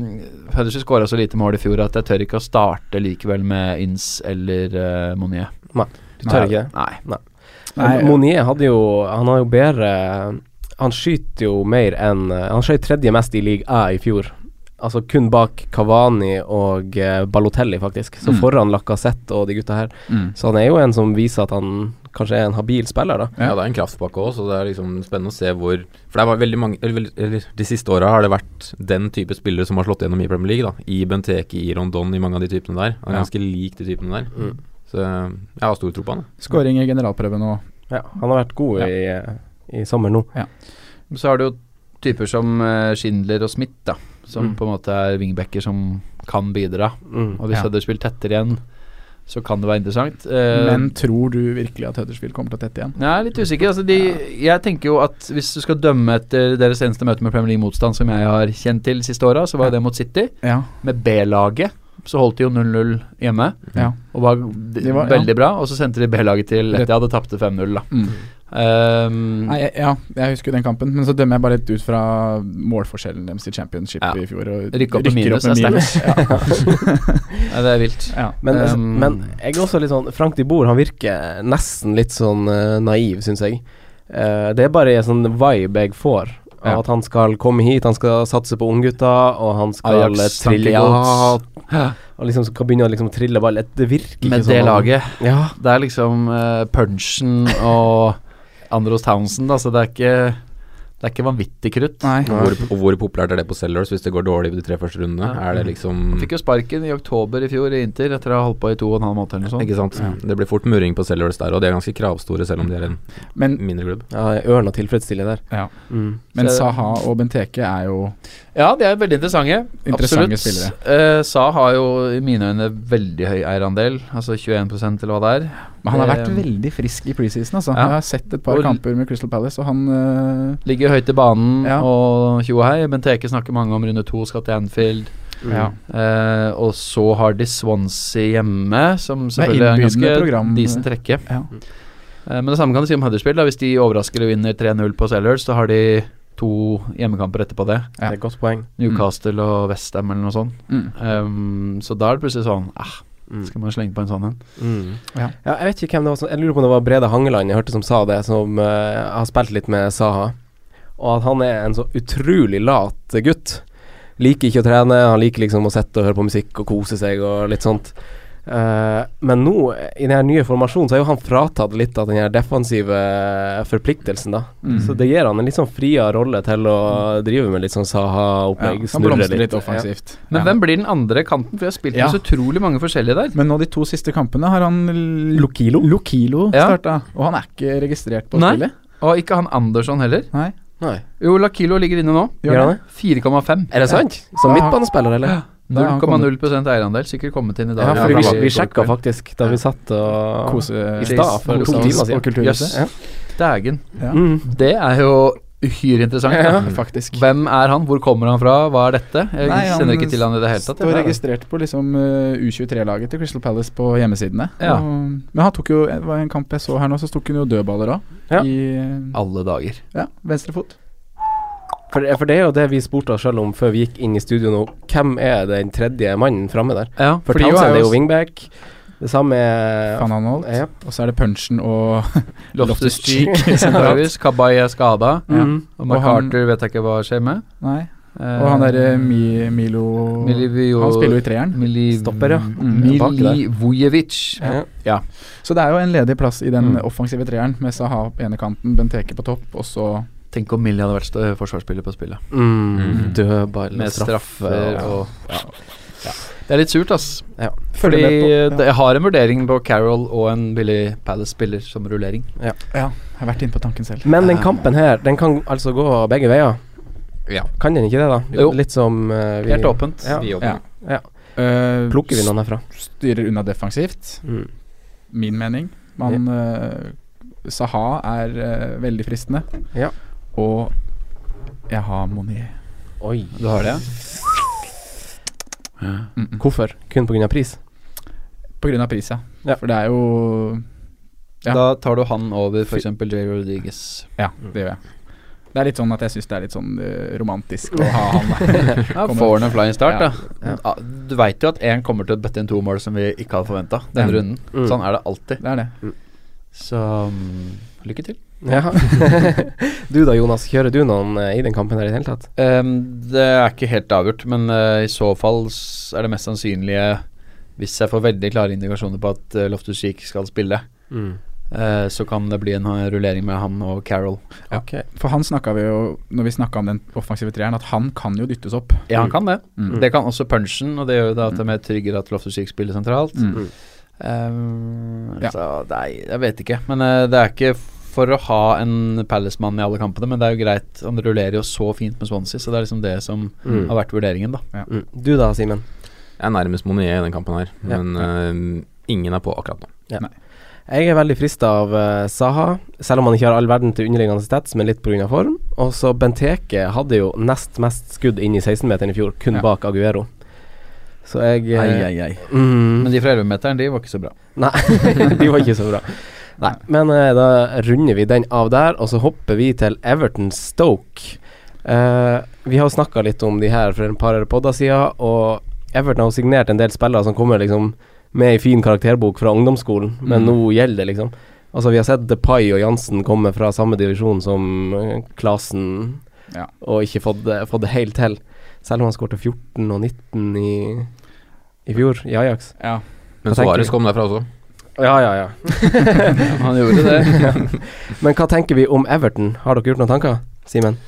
D: Huddersfield skåra så lite mål i fjor at jeg tør ikke å starte likevel med Inns eller eh, Monier.
C: Du tør ikke det?
D: Nei.
A: Nei,
C: Monier hadde jo Han har jo bedre Han skyter jo mer enn Han skjøt tredje mest i league A i fjor. Altså kun bak Kavani og eh, Balotelli, faktisk. Så
A: Mm.
C: foran Lacassette og de gutta her.
A: Mm.
C: Så han er jo en som viser at han kanskje er en habil spiller, da.
B: Ja, det er en kraftpakke òg, så det er liksom spennende å se hvor For det var veldig mange eller, vel- eller de siste åra har det vært den type spillere som har slått gjennom i Premier League, da. I Benteke, i Rondon, i mange av de typene der. Han er
A: Ja.
B: ganske lik de typene der.
C: Mm.
B: Så jeg har stor tro på han. jeg.
A: Skåring i generalprøven og
C: Ja, han har vært god
A: Ja.
C: i, eh, i sommer nå.
D: Så har du jo typer som eh, Schindler og Smith, da. Som
C: Mm.
D: på en måte er wingbacker som kan bidra.
C: Mm.
D: Og
A: Ja.
D: hvis jeg hadde spilt tettere igjen, så kan det være interessant. Eh,
A: Men tror du virkelig at Huddersfield kommer til å tette igjen?
D: Jeg er litt usikker. Altså, de, jeg tenker jo at hvis du skal dømme etter deres eneste møte med Premier League-motstand, som jeg har kjent til siste åra, så var jo det mot City.
A: Ja.
D: Med B-laget så holdt de jo 0-0 hjemme,
A: Ja.
D: og var,
A: De var- ja.
D: veldig bra. Og så sendte de B-laget til etter jeg hadde tapte 5-0, da.
A: Mm.
D: Ehm,
A: Nei, jeg, ja, jeg husker den kampen, men så dømmer jeg bare litt ut fra målforskjellen deres i championship
D: Ja.
A: i fjor. Og
D: Rykke opp med minus er nei, det er vilt.
A: Ja.
C: Men, altså,
D: Um,
C: men jeg er også litt sånn Frank de Boer, han virker nesten litt sånn eh, naiv, syns jeg. Eh, det er bare en sånn vibe jeg får. Av
D: Ja.
C: At han skal komme hit, han skal satse på unggutta, og han skal
D: Ajax,
C: eh, trille
D: tankegods.
C: Ja, Og liksom skal begynne å liksom trille ball. Det virker ikke
D: Med
C: sånn.
D: det laget
C: Ja.
D: Det er liksom eh, punchen og Andros Townsend, altså. Det er ikke, det er ikke vanvittig krutt.
A: Nei.
B: Hvor, og hvor populært er det på Sellers hvis det går dårlig på de tre første rundene?
D: Ja.
B: Er det liksom
D: Fikk jo sparken i oktober i fjor i Inter etter å ha holdt på i to og en halv måned eller noe sånt.
B: Ikke sant.
A: sånn. Ja.
B: Det blir fort murring på Sellers der, og de er ganske kravstore selv om de er en
A: Men,
B: mindre klubb.
C: ja Ørn og tilfredsstille der.
A: ja.
C: Mm.
A: men
D: Så-
A: Saha og Benteke er jo
D: Ja, de er veldig interessante.
A: Interessante
D: Absolutt.
A: spillere.
D: Eh, Sa har jo i mine øyne veldig høy eierandel, altså 21 eller hva det er.
A: Men han har vært
D: Eh,
A: veldig frisk i preseason, altså.
D: ja.
A: Jeg har sett et par
D: Og-
A: kamper med Crystal Palace, og han øh,
D: Ligger høyt i banen
A: Ja.
D: og tjo og hei. Benteke snakker mange om runde to skal til Anfield.
C: Mm.
A: ja.
D: Eh, og så har de Swansea hjemme, som
A: er
D: selvfølgelig er en ganske
A: innbydende program.
D: decent trekke.
A: Ja.
D: Eh, men det samme kan du si om Huddersfield. da. Hvis de overrasker og vinner 3-0 på Sellers, da har de to hjemmekamper etterpå det.
A: Ja.
C: Det er et godt poeng.
D: Newcastle og Westham eller noe sånt.
A: Mm.
D: Ehm, så da er det plutselig sånn ah,
C: Mm.
D: Skal man slenge på en sånn en?
C: Mm.
A: Ja.
C: Ja. jeg vet ikke hvem det var som Jeg lurer på om det var Brede Hangeland jeg hørte som sa det, som eh, har spilt litt med Saha. og at han er en så utrolig lat gutt. Liker ikke å trene, han liker liksom å sitte og høre på musikk og kose seg og litt sånt. Eh, men nå, i den her nye formasjonen, så er jo han fratatt litt av den her defensive forpliktelsen, da.
A: Mm.
C: Så det gir han en litt sånn fria rolle til å drive med litt sånn
A: ja,
C: Saha-opplegg.
A: han blomstrer litt offensivt.
D: Men
A: Ja.
D: hvem blir den andre kanten? For jeg har spilt med
A: Ja.
D: så utrolig mange forskjellige der.
A: Men nå de to siste kampene har han l-
C: Lokilo?
A: Lokilo
D: Ja.
A: starta, og han er ikke registrert på
D: Nei.
A: spillet.
D: Og ikke han Andersson heller.
A: Nei.
C: Nei.
D: Jo, Lakilo ligger inne nå.
A: Gjør
C: Gjør han
A: det?
C: det?
D: 4,5.
C: Er det sant? Som
A: Ja.
C: midtbanespiller, eller?
D: 0,0 eierandel. Sikkert kommet inn i dag.
C: Ja, for
A: Ja, han
C: vi,
A: var-
C: vi sjekka faktisk da vi satt og
A: Kose
C: i stad, for to
A: kos-
C: timer siden.
A: og kulturhuset.
D: Jøss. Dægen.
A: Ja.
C: Mm.
D: Det er jo uhyre interessant. da.
A: Ja, faktisk.
D: Hvem er han? Hvor kommer han fra? Hva er dette? Jeg
A: Nei, han
D: kjenner ikke til han i det hele tatt.
A: Står registrert på liksom eh, U23-laget til Crystal Palace på hjemmesidene.
D: Ja.
A: Og, men han tok jo det var en kamp jeg så her nå, så tok hun jo dødballer òg.
C: Ja.
A: I
D: Alle dager.
A: ja, venstre fot.
C: For, for det er jo det vi spurte oss sjøl om før vi gikk inn i studio nå. Hvem er den tredje mannen framme der?
D: Ja,
C: For
A: Fordi jo
C: Townsend
A: er
C: er
A: jo
C: jo wingback. Det samme er
A: Van Anholt.
C: Ja.
A: Og så er det punchen og
D: Loftus Cheek
A: Loftus-Cheek.
D: sentralvis. Kabay er skada.
A: Ja.
C: Mm.
D: Og
A: Og han-
D: MacArthur vet jeg ikke hva skjer med.
A: Nei. Og han derre Mi, Milo
D: Milivio-
A: Han spiller jo i treeren.
D: Miliv-
C: Stopper, ja.
A: Mm,
C: bak der.
D: Milivojevic.
C: Ja.
A: Så det er jo en ledig plass i den
D: Mm.
A: offensive treeren, med Saha på ene kanten, Benteke på topp, og så
D: Tenk om Millie hadde vært stø- forsvarsspiller på spillet.
C: Mm.
B: Mm.
C: Dødball,
D: Med straffer
C: ja.
D: og ja. Ja. Det er litt surt, ass.
C: Ja.
A: med
D: Fordi
A: på, ja.
D: det- jeg har en vurdering på Carol og en Billy Palace-spiller som rullering.
A: Ja, jeg har vært inne på tanken selv.
C: Men den kampen her, den kan altså gå begge veier.
B: Ja.
C: Kan den ikke det, da?
D: Jo.
C: Litt som eh, vi
D: Helt åpent.
C: Ja.
B: Vi jobber.
A: Ja.
C: Ja.
A: Eh,
C: Plukker vi noen herfra?
A: Styrer unna defensivt,
C: Mm.
A: min mening. Man eh, Saha er eh, veldig fristende.
C: Ja.
A: Og jeg har Monier.
C: Oi.
D: Du har det?
A: Mm -mm.
C: Hvorfor? Kun pga. pris?
A: På grunn av pris, ja.
C: Ja.
A: For det er jo Ja.
D: Da tar du han over f.eks. J. Rodriguez.
A: Ja, det gjør jeg. Det er litt sånn at jeg syns det er litt sånn eh, romantisk å ha han der.
D: Ja,
A: Kommer.
D: får han en flying start,
A: Ja.
D: da. Ja. Du veit jo at én kommer til å bøtte inn to mål som vi ikke hadde forventa denne
A: Ja.
D: runden.
C: Mm.
D: Sånn er det alltid.
A: Det er det.
D: Så mm, lykke til.
C: Ja. du da, Jonas. Kjører du noen eh, i den kampen her i det hele tatt?
D: Ehm, det er ikke helt avgjort, men eh, i så fall s- er det mest sannsynlige Hvis jeg får veldig klare indikasjoner på at uh, Loftus Cheek skal spille, eh, så kan det bli en eh, rullering med han og Carol.
C: Ok.
A: For han snakka vi jo, når vi snakka om den offensive treeren, at han kan jo dyttes opp.
D: Ja, han kan det.
A: Mm.
D: Det kan også punchen, og det gjør jo da at det er mer tryggere at Loftus Cheek spiller sentralt.
A: Mm.
D: Ehm,
A: Ja.
D: Så nei, jeg vet ikke. Men eh, det er ikke for å ha en Palace-mann i alle kampene, men det er jo greit. Han rullerer jo så fint med Swansea, så det er liksom det som
C: Mm.
D: har vært vurderingen, da.
C: Mm. Du da, Simen.
B: Jeg er nærmest Monier i den kampen her,
C: Ja.
B: men eh, ingen er på akkurat nå.
C: Jeg er veldig frista av eh, Saha, selv om han ikke har all verden til underliggende stats, men litt pga. form. Og så Benteke hadde jo nest mest skudd inn i 16-meteren i fjor, kun
A: Ja.
C: bak Aguero. Så jeg eh,
D: ai.
C: Mm,
D: Men de fra 11-meteren, de var ikke så bra.
C: Nei, de var ikke så bra. Nei, men eh, da runder vi den av der, og så hopper vi til Everton Stoke. Eh, vi har jo snakka litt om de her for en par podder siden, og Everton har jo signert en del spillere som kommer liksom med ei fin karakterbok fra ungdomsskolen, men
A: Mm.
C: nå gjelder det, liksom. Altså, vi har sett DePay og Jansen komme fra samme divisjon som eh, Klasen,
A: Ja.
C: og ikke fått det, fått det helt til. Selv om han skårte 14 og 19 i, i fjor, i Ajax.
A: Ja.
B: Men
C: Hva tenker
B: Suarez
C: du?
B: kom derfra også.
C: Ja, ja, ja.
D: Han gjorde det.
C: Men hva tenker vi om Everton? Har dere gjort noen tanker, Simen?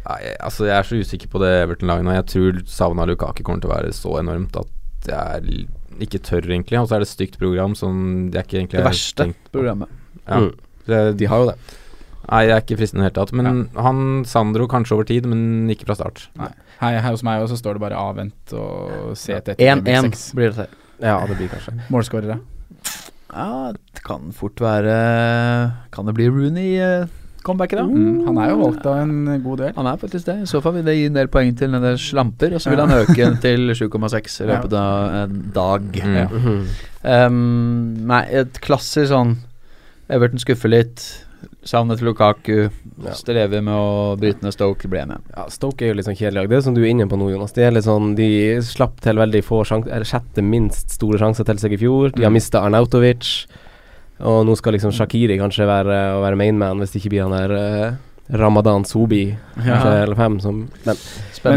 B: Nei, altså Jeg er så usikker på det Everton-laget nå. Jeg tror savna Lukaki kommer til å være så enormt at jeg er l- ikke tør, egentlig. Og så er det et stygt program som jeg ikke egentlig
D: Det
B: har
D: verste
B: tenkt på.
D: Programmet.
B: Ja.
C: Mm.
B: Det,
C: De har jo det.
B: nei, jeg er ikke fristende i det hele tatt. Men han Sandro kanskje over tid, men ikke fra start.
A: Her, her hos meg også står det bare 'avvent' og 'se etter
D: 1-1
A: 1-6.
D: blir det til.
C: Ja, det blir kanskje
A: Målskårere.
D: Ja, det kan fort være Kan det bli Rooney-comebacket, da?
A: Mm, han er jo valgt av en god del.
D: Han er faktisk det. I så fall vil det gi en del poeng til en del slamper, og så vil han øke til 7,6 i løpet av en dag.
B: Mm.
D: Ja.
C: Mhm.
D: Ehm, nei, et klasser sånn Everton skuffer litt. Savnet Lukaku.
C: Ja.
D: Strever med å bryte ned Stoke. Ble med.
C: ja, Stoke er jo litt sånn kjedelig lag. Det er som du er inne på nå, Jonas. De, er litt sånn, de slapp til veldig få sjanser, eller sjette minst store sjanser til seg i fjor. De har
A: Mm.
C: mista Arnautovic, og nå skal liksom Shakiri kanskje være, å være mainman hvis det ikke blir han der eh, Ramadan Sobi, kanskje,
D: Ja.
C: eller fem, som Men
A: Men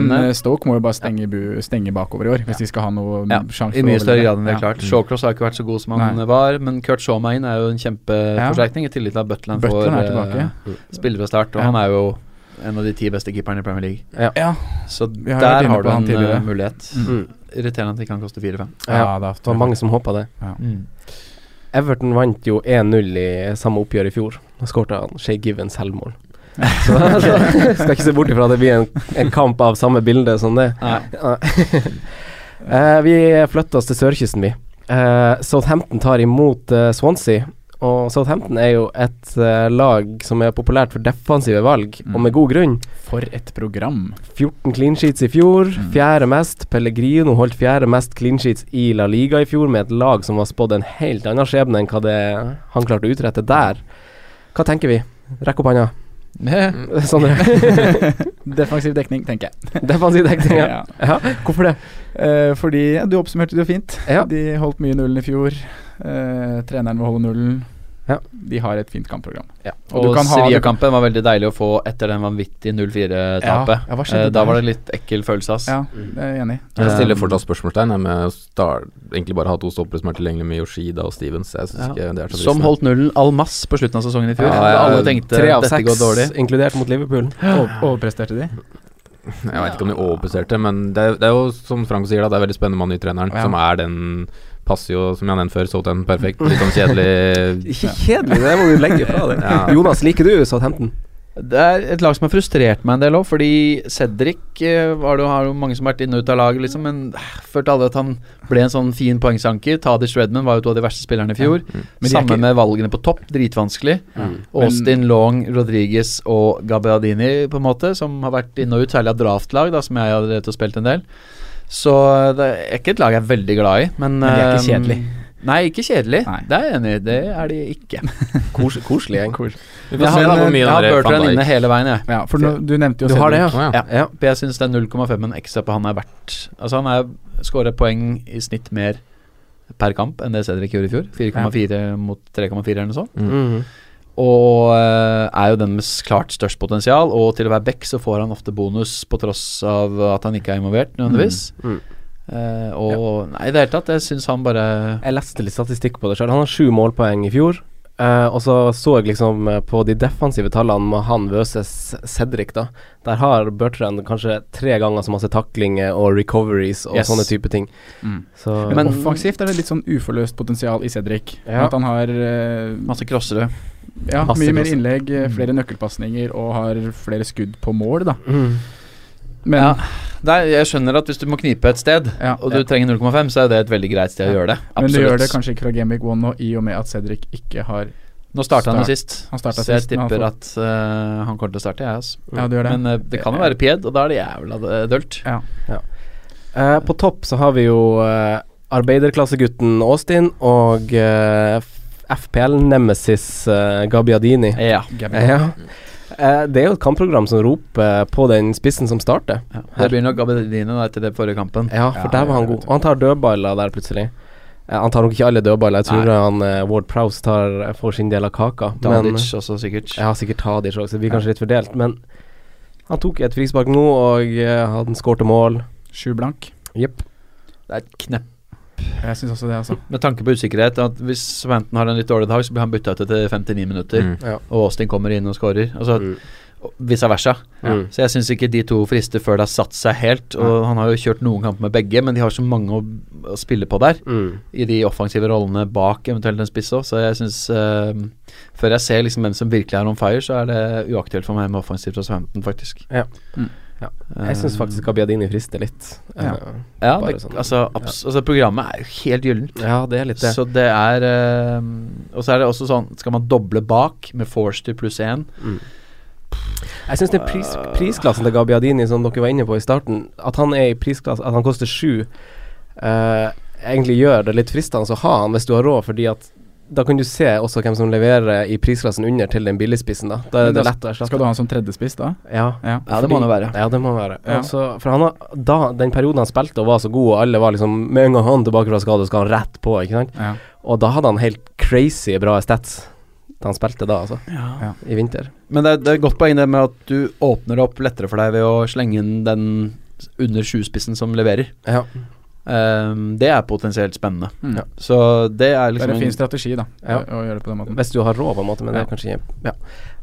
D: Spennende.
A: eh, Stoke må jo bare stenge, bu, stenge bakover i år, hvis de skal ha noe
D: Ja,
A: sjanse.
D: I
A: å
D: mye
A: overleve.
D: større grad enn det er
A: Ja.
D: klart. Shawcross har ikke vært så god som han
A: Nei.
D: var, men Kurt Shawmain er jo en kjempeforsterkning, i tillegg til at Butland får
A: Butland er
D: eh,
A: tilbake.
D: spille fra start, og
A: Ja.
D: han er jo en av de ti beste keeperne i Premier League.
A: Ja.
D: Så
A: Vi har jo vært
D: der
A: inne
D: har
A: på
D: du
A: han
D: en eh,
A: tidligere.
D: mulighet.
C: mm.
D: Irriterende at det ikke kan koste 4-5.
C: Ja,
A: Ja, det
C: det var mange som håpa det.
A: Mm.
C: Everton vant jo 1-0 i samme oppgjør i fjor. Da skårte han Shay Givens selvmål. Så, så skal ikke se bort ifra at det blir en, en kamp av samme bilde som det.
D: Nei.
C: Ja. Eh, vi flytter oss til sørkysten, vi. Eh, Southampton tar imot eh, Swansea. Og Southampton er jo et eh, lag som er populært for defensive valg,
A: Mm.
C: og med god grunn.
A: For et program.
C: 14 clean sheets i fjor,
A: Mm.
C: fjerde mest. Pellegrino holdt fjerde mest clean sheets i La Liga i fjor, med et lag som var spådd en helt annen skjebne enn hva det han klarte å utrette der. Hva tenker vi? Rekk opp hånda,
D: Sånn,
C: Sondre.
A: Defensiv dekning, tenker jeg.
C: Defensiv dekning, ja.
A: Ja.
C: ja. Hvorfor det?
A: Eh, fordi ja, Du oppsummerte det jo fint.
C: Ja.
A: De holdt mye nullen i fjor. Eh, treneren må holde nullen.
C: Ja.
A: De har et fint kampprogram. Og
D: Og,
A: du kan ha-
D: Sevilla-kampen var veldig deilig å få etter den vanvittige 0-4-tapet.
A: Ja, ja, hva skjedde
D: da
A: der?
D: var det litt ekkel følelse, ass.
A: Ja, det er jeg enig i.
B: Jeg stiller
D: Um,
B: fortsatt spørsmålstegn jeg, med å star, egentlig bare ha to stoppere som er tilgjengelige med Yoshida og Stevens. Jeg synes
D: Ja.
B: ikke det er så
D: Som
B: fristende.
D: holdt nullen al mass på slutten av sesongen i fjor.
B: Ja,
D: Da
B: ja,
D: alle tenkte
C: Tre av
D: eh, dette går dårlig.
C: seks, inkludert mot Liverpool.
A: Over- Overpresterte de?
B: Jeg vet ikke om de overpresterte, men det, er- det er jo som Franco sier, da, det er veldig spennende med han nye treneren,
A: Ja.
B: som er den passer jo, som jeg har nevnt før, Southampton perfekt. Litt sånn kjedelig
C: Ikke kjedelig, det må du legge fra deg.
B: Ja.
C: Jonas, liker du Southampton?
D: Det er et lag som har frustrert meg en del òg, fordi Cedric eh, var det, jo- har jo mange som har vært inne og ut av laget, liksom, men eh, følte alle at han ble en sånn fin poengsanker. Tadish Redman var jo to av de verste spillerne i fjor.
A: Men de er
D: Samme
A: ikke-
D: med valgene på topp, dritvanskelig. Austin Long, Rodriguez og Gabbiadini, på en måte, som har vært inne og ut, særlig av draftlag, da, som jeg har drevet og spilt en del. Så eh, det er ikke et lag jeg er veldig glad i, men
A: Men de er ikke
D: eh,
A: kjedelig.
D: Nei, ikke kjedelig.
A: Nei.
D: Det er jeg enig i. Det er de ikke.
C: Kos, koselig gjeng.
B: Vi
D: Jeg
B: får se da
D: har,
B: hvor mye
D: jeg
B: den
D: har
B: der
D: Bertrand
B: Van
D: inne
B: Dijk-
D: hele veien, jeg.
A: Ja, for nå, du nevnte jo
C: Du har det,
A: Cedric.
B: Å,
C: ja?
B: ja.
C: ja. ja.
D: For jeg syns den 0,5-en ekstra på han er verdt Altså Han er skåra poeng i snitt mer per kamp enn det Cedric gjorde i fjor. 4,4 mot 3,4 eller noe
B: Mm.
D: sånt.
C: Mhm.
D: Og eh, er jo den med s- klart størst potensial. Og til å være back så får han ofte bonus på tross av at han ikke er involvert, nødvendigvis.
C: Mm.
D: Eh, og Nei, i det hele tatt, jeg syns han bare
C: Jeg leste litt statistikk på det sjøl. Han har sju målpoeng i fjor. eh, og så så jeg liksom eh, på de defensive tallene med han versus Cedric, da. Der har Bertrand kanskje tre ganger så masse taklinger og recoveries og
D: Yes.
C: sånne type ting.
A: Mm.
C: Så
A: Men
D: Men-
A: offensivt er det litt sånn uforløst potensial i Cedric.
C: Ja.
A: At han har eh,
D: Masse Mm. crossere.
A: ja,
C: masse
A: mye mer
C: klasse.
A: innlegg, eh, flere nøkkelpasninger og har flere skudd på mål, da.
C: mm.
A: Men
D: ja. Nei, jeg skjønner at hvis du må knipe et sted,
A: Ja.
D: og du trenger 0,5, så er det et veldig greit sted å
A: Ja.
D: gjøre det.
A: Men du gjør det
D: Absolutt.
A: kanskje ikke fra Game Week 1 nå, i og med at Cedric ikke har
D: Nå starta han jo
A: Start.
D: sist,
A: Han starta
D: så jeg
A: sist, men han
D: tipper
A: får-
D: at eh, han kommer til å starte, jeg, altså.
A: Ja, du gjør det.
D: Men eh, det kan jo være Pied, og da er det jævla eh, dølt.
A: Ja.
C: Eh, på topp så har vi jo eh, arbeiderklassegutten Austin og eh, f- FPL-nemesis eh, Gabbiadini.
D: Ja.
A: Gabriel.
C: Ja. Eh, det er jo et kampprogram som roper på den spissen som starter.
D: Det blir nok Abedine da, etter den forrige kampen.
C: Ja, for
A: Ja,
C: der var han
A: jeg
C: god.
A: vet
C: Og han tar dødballer der plutselig. Eh, han tar nok ikke alle dødballer. Jeg tror han eh, Ward Prowse tar, får sin del av kaka.
D: Danic også, sikkert.
C: ja, sikkert Tadic også, så vi er kanskje litt fordelt. Men han tok et frispark nå, og eh, han skårte mål.
A: Sju blank.
C: Jepp.
D: Det er et knepp.
A: Jeg syns også det, altså.
D: Med tanke på usikkerhet, at hvis Svanton har en litt dårlig dag, så blir han bytta ut etter 59 minutter,
B: Mm.
C: Ja.
D: og Austin kommer inn og scorer. Altså,
C: Mm.
D: og Vice versa.
C: Mm.
D: Så jeg syns ikke de to frister før det har satt seg helt. Og han har jo kjørt noen kamper med begge, men de har så mange å, å spille på der.
C: Mm.
D: i de offensive rollene bak eventuelt en spiss òg, så jeg syns Før jeg ser liksom hvem som virkelig er on fire, så er det uaktuelt for meg med offensivt hos 15, faktisk.
C: Ja.
A: Mm.
C: Ja.
D: Eh,
C: Jeg syns faktisk Gabiadini frister litt. Eh,
A: Ja.
D: ja,
C: bare
D: det,
C: sånn.
D: altså, abs altså, programmet er jo helt gyllent.
C: ja, det er litt det.
D: Så det er eh, Og så er det også sånn Skal man doble bak med Forster pluss én?
C: Jeg syns den pris, prisklassen til Gabiadini som dere var inne på i starten, at han er i prisklasse At han koster sju, eh, egentlig gjør det litt fristende å ha han hvis du har råd, fordi at da kan du se også hvem som leverer i prisklassen under til den billigspissen, da. Da er
A: Men
C: det
A: da
C: lett å
A: Skal
C: erstatte.
A: du ha han som tredjespiss da?
C: Ja.
A: Ja.
D: Ja, det må det være.
C: Ja, det må være.
A: Ja.
C: Altså, for han har, da, den perioden han spilte og var så god, og alle var liksom Med en gang han tilbake fra skade, skal han rett på, ikke sant?
A: ja.
C: Og da hadde han helt crazy bra stats. da han spilte da, altså. I vinter.
D: Men det er, det er et godt poeng det med at du åpner det opp lettere for deg ved å slenge inn den under sjuspissen som leverer.
C: Ja.
D: Ehm, det er potensielt spennende.
A: Mm.
C: Ja.
D: Så det er
A: Det
D: liksom
A: er en fin strategi, da,
C: Ja.
A: å gjøre det på den måten.
C: Hvis du har råd, på en måte, men det er kanskje ikke ja.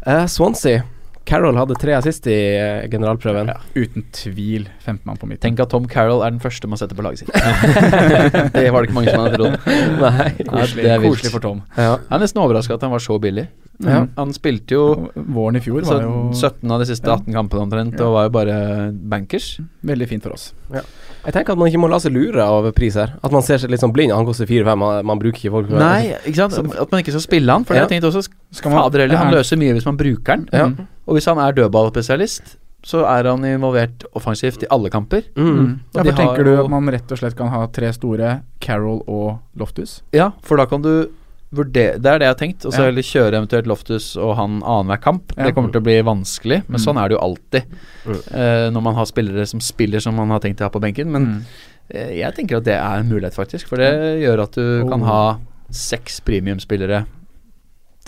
C: Eh, Swansea. Carroll hadde tre assist i eh, generalprøven.
A: Uten tvil femtemann på midten.
D: Tenk at Tom Carroll er den første man setter på laget sitt. det var det ikke mange som hadde trodd.
C: Nei.
A: Koselig,
D: Nei, det er vilt.
A: koselig for Tom.
C: Ja.
D: Jeg er nesten overraska at han var så billig.
A: Ja.
D: Han spilte jo
A: Mm. Våren i fjor var jo
D: 17 av de siste
A: Ja.
D: 18 kampene omtrent,
A: Ja.
D: og var jo bare bankers.
A: veldig fint for oss.
C: Jeg tenker at man ikke må la seg lure av pris her. At man ser seg litt sånn blind. Han koster 4-5, man, man bruker ikke folk.
D: Nei, ikke sant? at man ikke skal spille han. For
C: Ja.
D: jeg tenkte også
A: Skal man-
D: Fader heller, han
A: er-
D: løser mye hvis man bruker den.
C: Ja.
A: Mm.
D: Og hvis han er dødballspesialist, så er han involvert offensivt i alle kamper.
C: Mm.
A: Mm. Ja,
D: de
A: for
D: har
A: tenker du
D: jo-
A: at man rett og slett kan ha tre store, Carol og Loftus?
D: Ja, for da kan du vurdere Det er det jeg har tenkt. Og så
A: Ja.
D: heller kjøre eventuelt Loftus og han annenhver kamp.
A: Ja.
D: Det kommer til å bli vanskelig, men
A: Mm.
D: sånn er det jo alltid.
C: Mm.
D: eh, når man har spillere som spiller som man har tenkt å ha på benken. Men
A: Mm.
D: eh, jeg tenker at det er en mulighet, faktisk. For det gjør at du
A: Oh.
D: kan ha seks premiumspillere.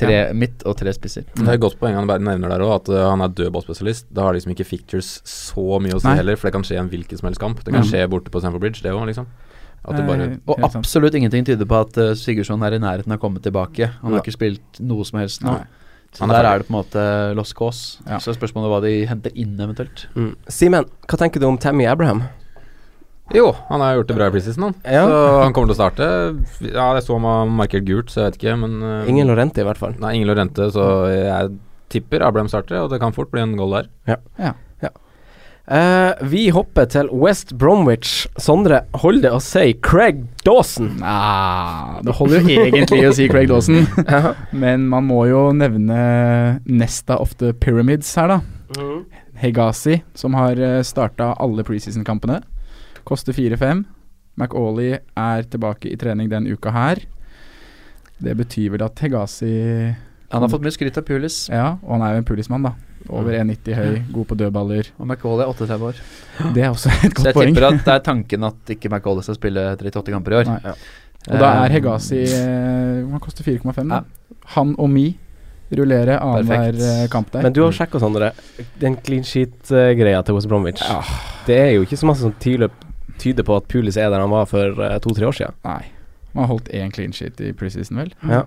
D: Tre midt og tre spisser.
B: Det er et godt poeng han bare nevner der òg, at eh, han er dødballspesialist. Da har liksom ikke fictures så mye å si
A: Nei.
B: heller, for det kan skje i en hvilken som helst kamp. Det
D: Mm.
B: kan
A: Ja.
B: skje borte på Stamford Bridge, det òg, liksom. At det bare
A: Nei,
D: Og
A: Eh, helt sant.
D: absolutt ingenting tyder på at eh, Sigurdsson er i nærheten av å komme tilbake. Han
B: Ja.
D: har ikke spilt noe som helst nå.
A: Nei.
D: Så
B: Han er
D: der
B: ferdig.
D: er det på en måte lost cause.
A: Ja.
D: Så er spørsmålet hva de henter inn eventuelt.
C: Mm. Simen, hva tenker du om Tammy Abraham?
B: Jo, han har gjort det bra i preseason, han.
C: Ja.
B: Så han kommer til å starte. Ja, jeg så han var markert gult, så jeg vet ikke, men eh,
C: Ingen Lorente, i hvert fall.
B: Nei, ingen Lorente, så jeg tipper Abraham starter, og det kan fort bli en goal der.
C: Eh, vi hopper til West Bromwich. Sondre, hold det å si Craig Dawson.
A: Nei, det holder jo egentlig å si Craig Dawson, men man må jo nevne Nesta of the Pyramids her, da.
D: Mhm.
A: Hegazi, som har starta alle preseason-kampene. Koster 4-5. McAuley er tilbake i trening den uka her. Det betyr vel at Hegazi
D: Han har fått mye skryt av Pulis,
A: Mm. Ja, og han er jo en pulismann, da. Over 1,90 høy, god på dødballer.
D: og McAuley er 38 år.
A: Det er også et
D: Så
A: godt
D: jeg
A: poeng.
D: tipper at det er tanken at ikke McAuley skal spille 38 kamper i år.
A: Nei. Og da er Hegazi eh, Han koster 4,5. da.
D: Ja.
A: Han og Mi rullerer annenhver
D: Perfekt.
A: eh, kamp der.
C: Men du har sjekka, Sondre. Den clean sheet-greia til West Bromwich.
A: Ja.
C: Det er jo ikke så masse som tyder, tyder på at Pulis er der han var for eh, to-tre år siden.
A: Nei. Man har holdt én clean sheet i preseason, vel?
C: Ja.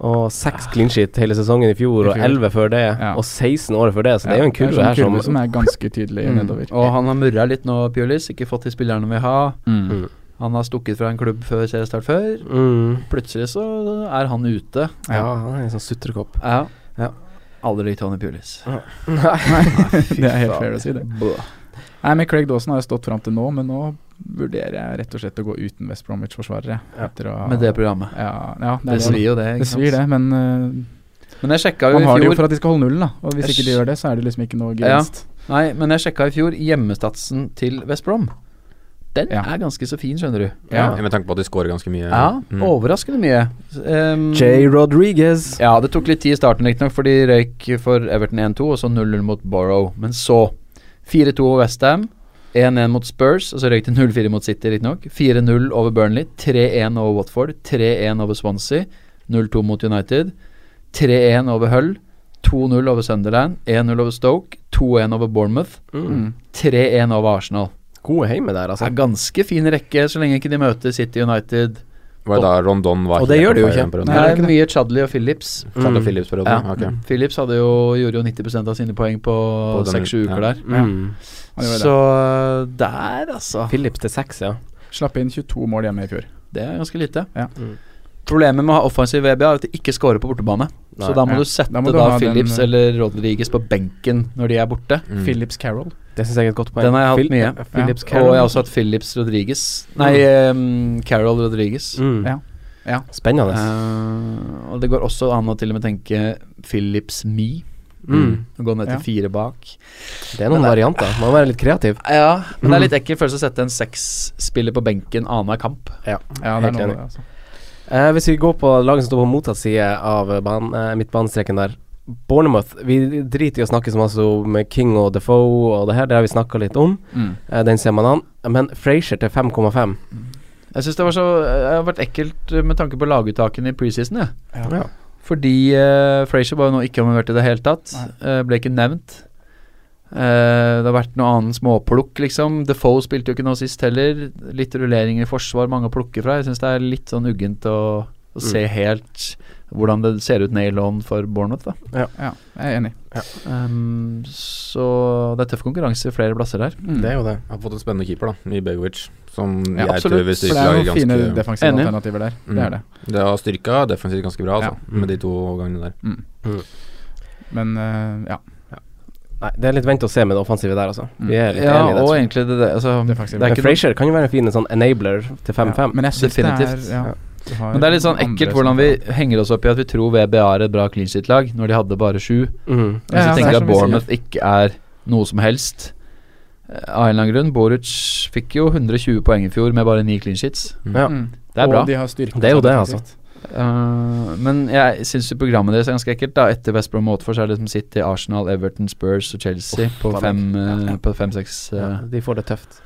C: Og seks clean sheet hele sesongen i
A: I
C: fjor, og
A: fjor.
C: elleve før det,
A: Ja.
C: og 16 året før det, så det er jo en kurve
A: sånn
C: her som,
A: kurve som er ganske tydelig
C: Mm.
A: nedover.
D: Og han har murra litt nå, Pulis. Ikke fått de spillerne vi har.
A: Mm.
D: Han har stukket fra en klubb før seriestart før.
C: mm,
D: Plutselig så er han ute.
C: Ja, han er en sånn sutrekopp.
D: Ja.
C: Ja.
D: Aldri likt Tony Pulis.
A: Det er helt fair å si, det. Nei, men Craig Dawson har jo stått fram til nå, men nå vurderer jeg rett og slett å gå uten West Bromwich-forsvarere.
C: Ja.
A: etter å-
D: Med det programmet.
A: Ja, ja
D: Det svir jo, det. ikke
A: Det svir, det, men eh,
D: sant? Men jeg sjekka jo
A: man
D: i
A: har det jo
D: fjor
A: for at de skal holde nullen, da. Og hvis
D: Jeg
A: ikke de
D: skj-
A: gjør det, så er det liksom ikke noe
D: Ja.
A: gevinst.
D: Nei, men jeg sjekka i fjor hjemmestatsen til West Brom. Den
A: Ja.
D: er ganske så fin, skjønner du.
A: Ja.
B: Med tanke på at de scorer ganske mye.
D: Ja,
B: Mm.
D: overraskende mye. Um,
C: J. Rodriguez.
D: Ja, det tok litt tid i starten, riktignok, for de røyk for Everton 1-2, og så 0-0 mot Borough. Men så 4-2 over Westham, 1-1 mot Spurs, og så røyk de 0-4 mot City, riktignok. 4-0 over Burnley, 3-1 over Watford, 3-1 over Swansea, 0-2 mot United, 3-1 over Hull, 2-0 over Sunderland, 1-0 over Stoke, 2-1 over Bournemouth,
C: Mm.
A: Mm.
D: 3-1 over Arsenal.
C: Gode heime der,
D: Det
C: altså.
D: er ganske fin rekke, så lenge ikke de møter City United.
B: Var det da Rondon var
C: Og det
B: helt
C: gjør det jo
B: on fire
C: ikke.
B: den perioden?
D: Det
A: Nei, det er
D: er
A: ikke
D: mye Chadley og Phillips.
B: Charlotte
C: Mm.
B: Phillips-perioden?
D: Ja.
B: Ok.
D: Phillips hadde jo, gjorde jo 90 av sine poeng på
B: På den-
D: seks-sju uker
B: ja.
D: der.
C: Mm. eh,
A: Han gjorde
D: Så der, altså.
C: Philips til seks, ja.
A: det. Slapp inn 22 mål hjemme i fjor.
D: Det er ganske lite.
A: Ja.
C: Mm.
D: Problemet med å ha offensiv VBA er at de ikke scorer på bortebane. Så da må
A: Ja.
D: du sette
A: Da
D: da,
A: må du ha den- eh,
D: Phillips eller Rodriguez på benken når de er borte.
B: Mm.
A: Phillips Carroll.
C: Det syns jeg er et godt poeng.
D: Den har jeg hatt mye.
C: ja, Philips
D: Og jeg har
C: Carroll.
D: også hatt Phillips Rodriguez
A: Mm.
D: Nei, ehm, Carol Rodriguez.
C: Mm.
A: Ja. Ja.
C: Spennende.
D: Eh, og det går også an å til og med tenke Phillips Me.
C: Mm.
D: Å gå ned
A: Ja.
D: til fire bak.
C: Det er noen varianter. Man må være litt kreativ.
D: Ja, men det er
C: Mm.
D: litt ekkel følelse å sette en seksspiller på benken annenhver kamp.
A: Ja, det er
C: Helt
A: noe av
C: enig.
A: det, altså.
C: Eh, hvis vi går på laget som står på motsatt side av ban eh, midtbanestreken der. Bournemouth. Vi driter i å snakke så masse om eh, King og Defoe og det her, det har vi snakka litt om.
A: Mm.
C: Eh, den ser man an. Men Frazier til 5,5.
D: eh, Jeg syns det var så Det har vært ekkelt med tanke på laguttaken i preseason, jeg.
A: Ja.
C: Ja.
D: Fordi uh, Frazier var jo nå ikke involvert i det hele tatt. Eh, ble ikke nevnt. Eh, det har vært noe annet småplukk, liksom. Defoe spilte jo ikke noe sist heller. Litt rullering i forsvar, mange å plukke fra. Jeg syns det er litt sånn uggent å,
C: Mm.
D: å se helt hvordan det ser ut nail on for Bournemouth, da.
A: Ja, jeg er enig.
D: Ehm, så det er tøff konkurranse flere plasser der.
A: Mm.
B: Det er jo det. Jeg har fått en spennende keeper, da, i Begovic. Som
D: Ja,
B: jeg
D: absolutt,
B: tror vil
A: For det
B: styrke
A: er
B: laget
A: noen fine
B: ganske
A: defensive
D: Enig.
A: alternativer der. Det er det.
B: Det har styrka defensivt ganske bra, altså,
A: Ja.
B: med de to gangene der.
A: Men eh, ja.
C: Nei, det er litt vent og se med det offensive der, altså. Vi er litt
D: Ja,
C: enige i det.
D: og
C: tror jeg.
D: egentlig det, det, altså, det,
A: Defensive.
D: er
C: Men
D: ikke noe,
C: Frazier kan jo være en fin sånn enabler til 5-5.
A: Men jeg synes det er
D: Definitivt.
A: ja,
C: Ja.
A: du har
D: men det er litt sånn
A: andre
D: ekkelt
A: som-
D: hvordan vi henger oss opp i at vi tror VBA er et bra clean shit-lag, når de hadde bare sju.
C: Mhm.
D: Men
A: Ja,
D: så
A: ja, det
D: tenker
A: er
D: jeg
A: som
D: at
A: vi sier.
D: Bournemouth ikke er noe som helst. eh, Av en eller annen grunn. Boruc fikk jo 120 poeng i fjor med bare ni clean shits.
C: Ja.
A: Mm.
D: Det er bra.
A: Og de har styrket
C: Det er jo
A: seg
C: det, altså.
A: defensivt.
D: Eh, men jeg syns programmet deres er ganske ekkelt. da Etter West Brom Watford så er det liksom City, Arsenal, Everton, Spurs og Chelsea på
C: da,
D: fem, eh, på fem-seks
C: Ja,
D: eh,
C: de får det tøft.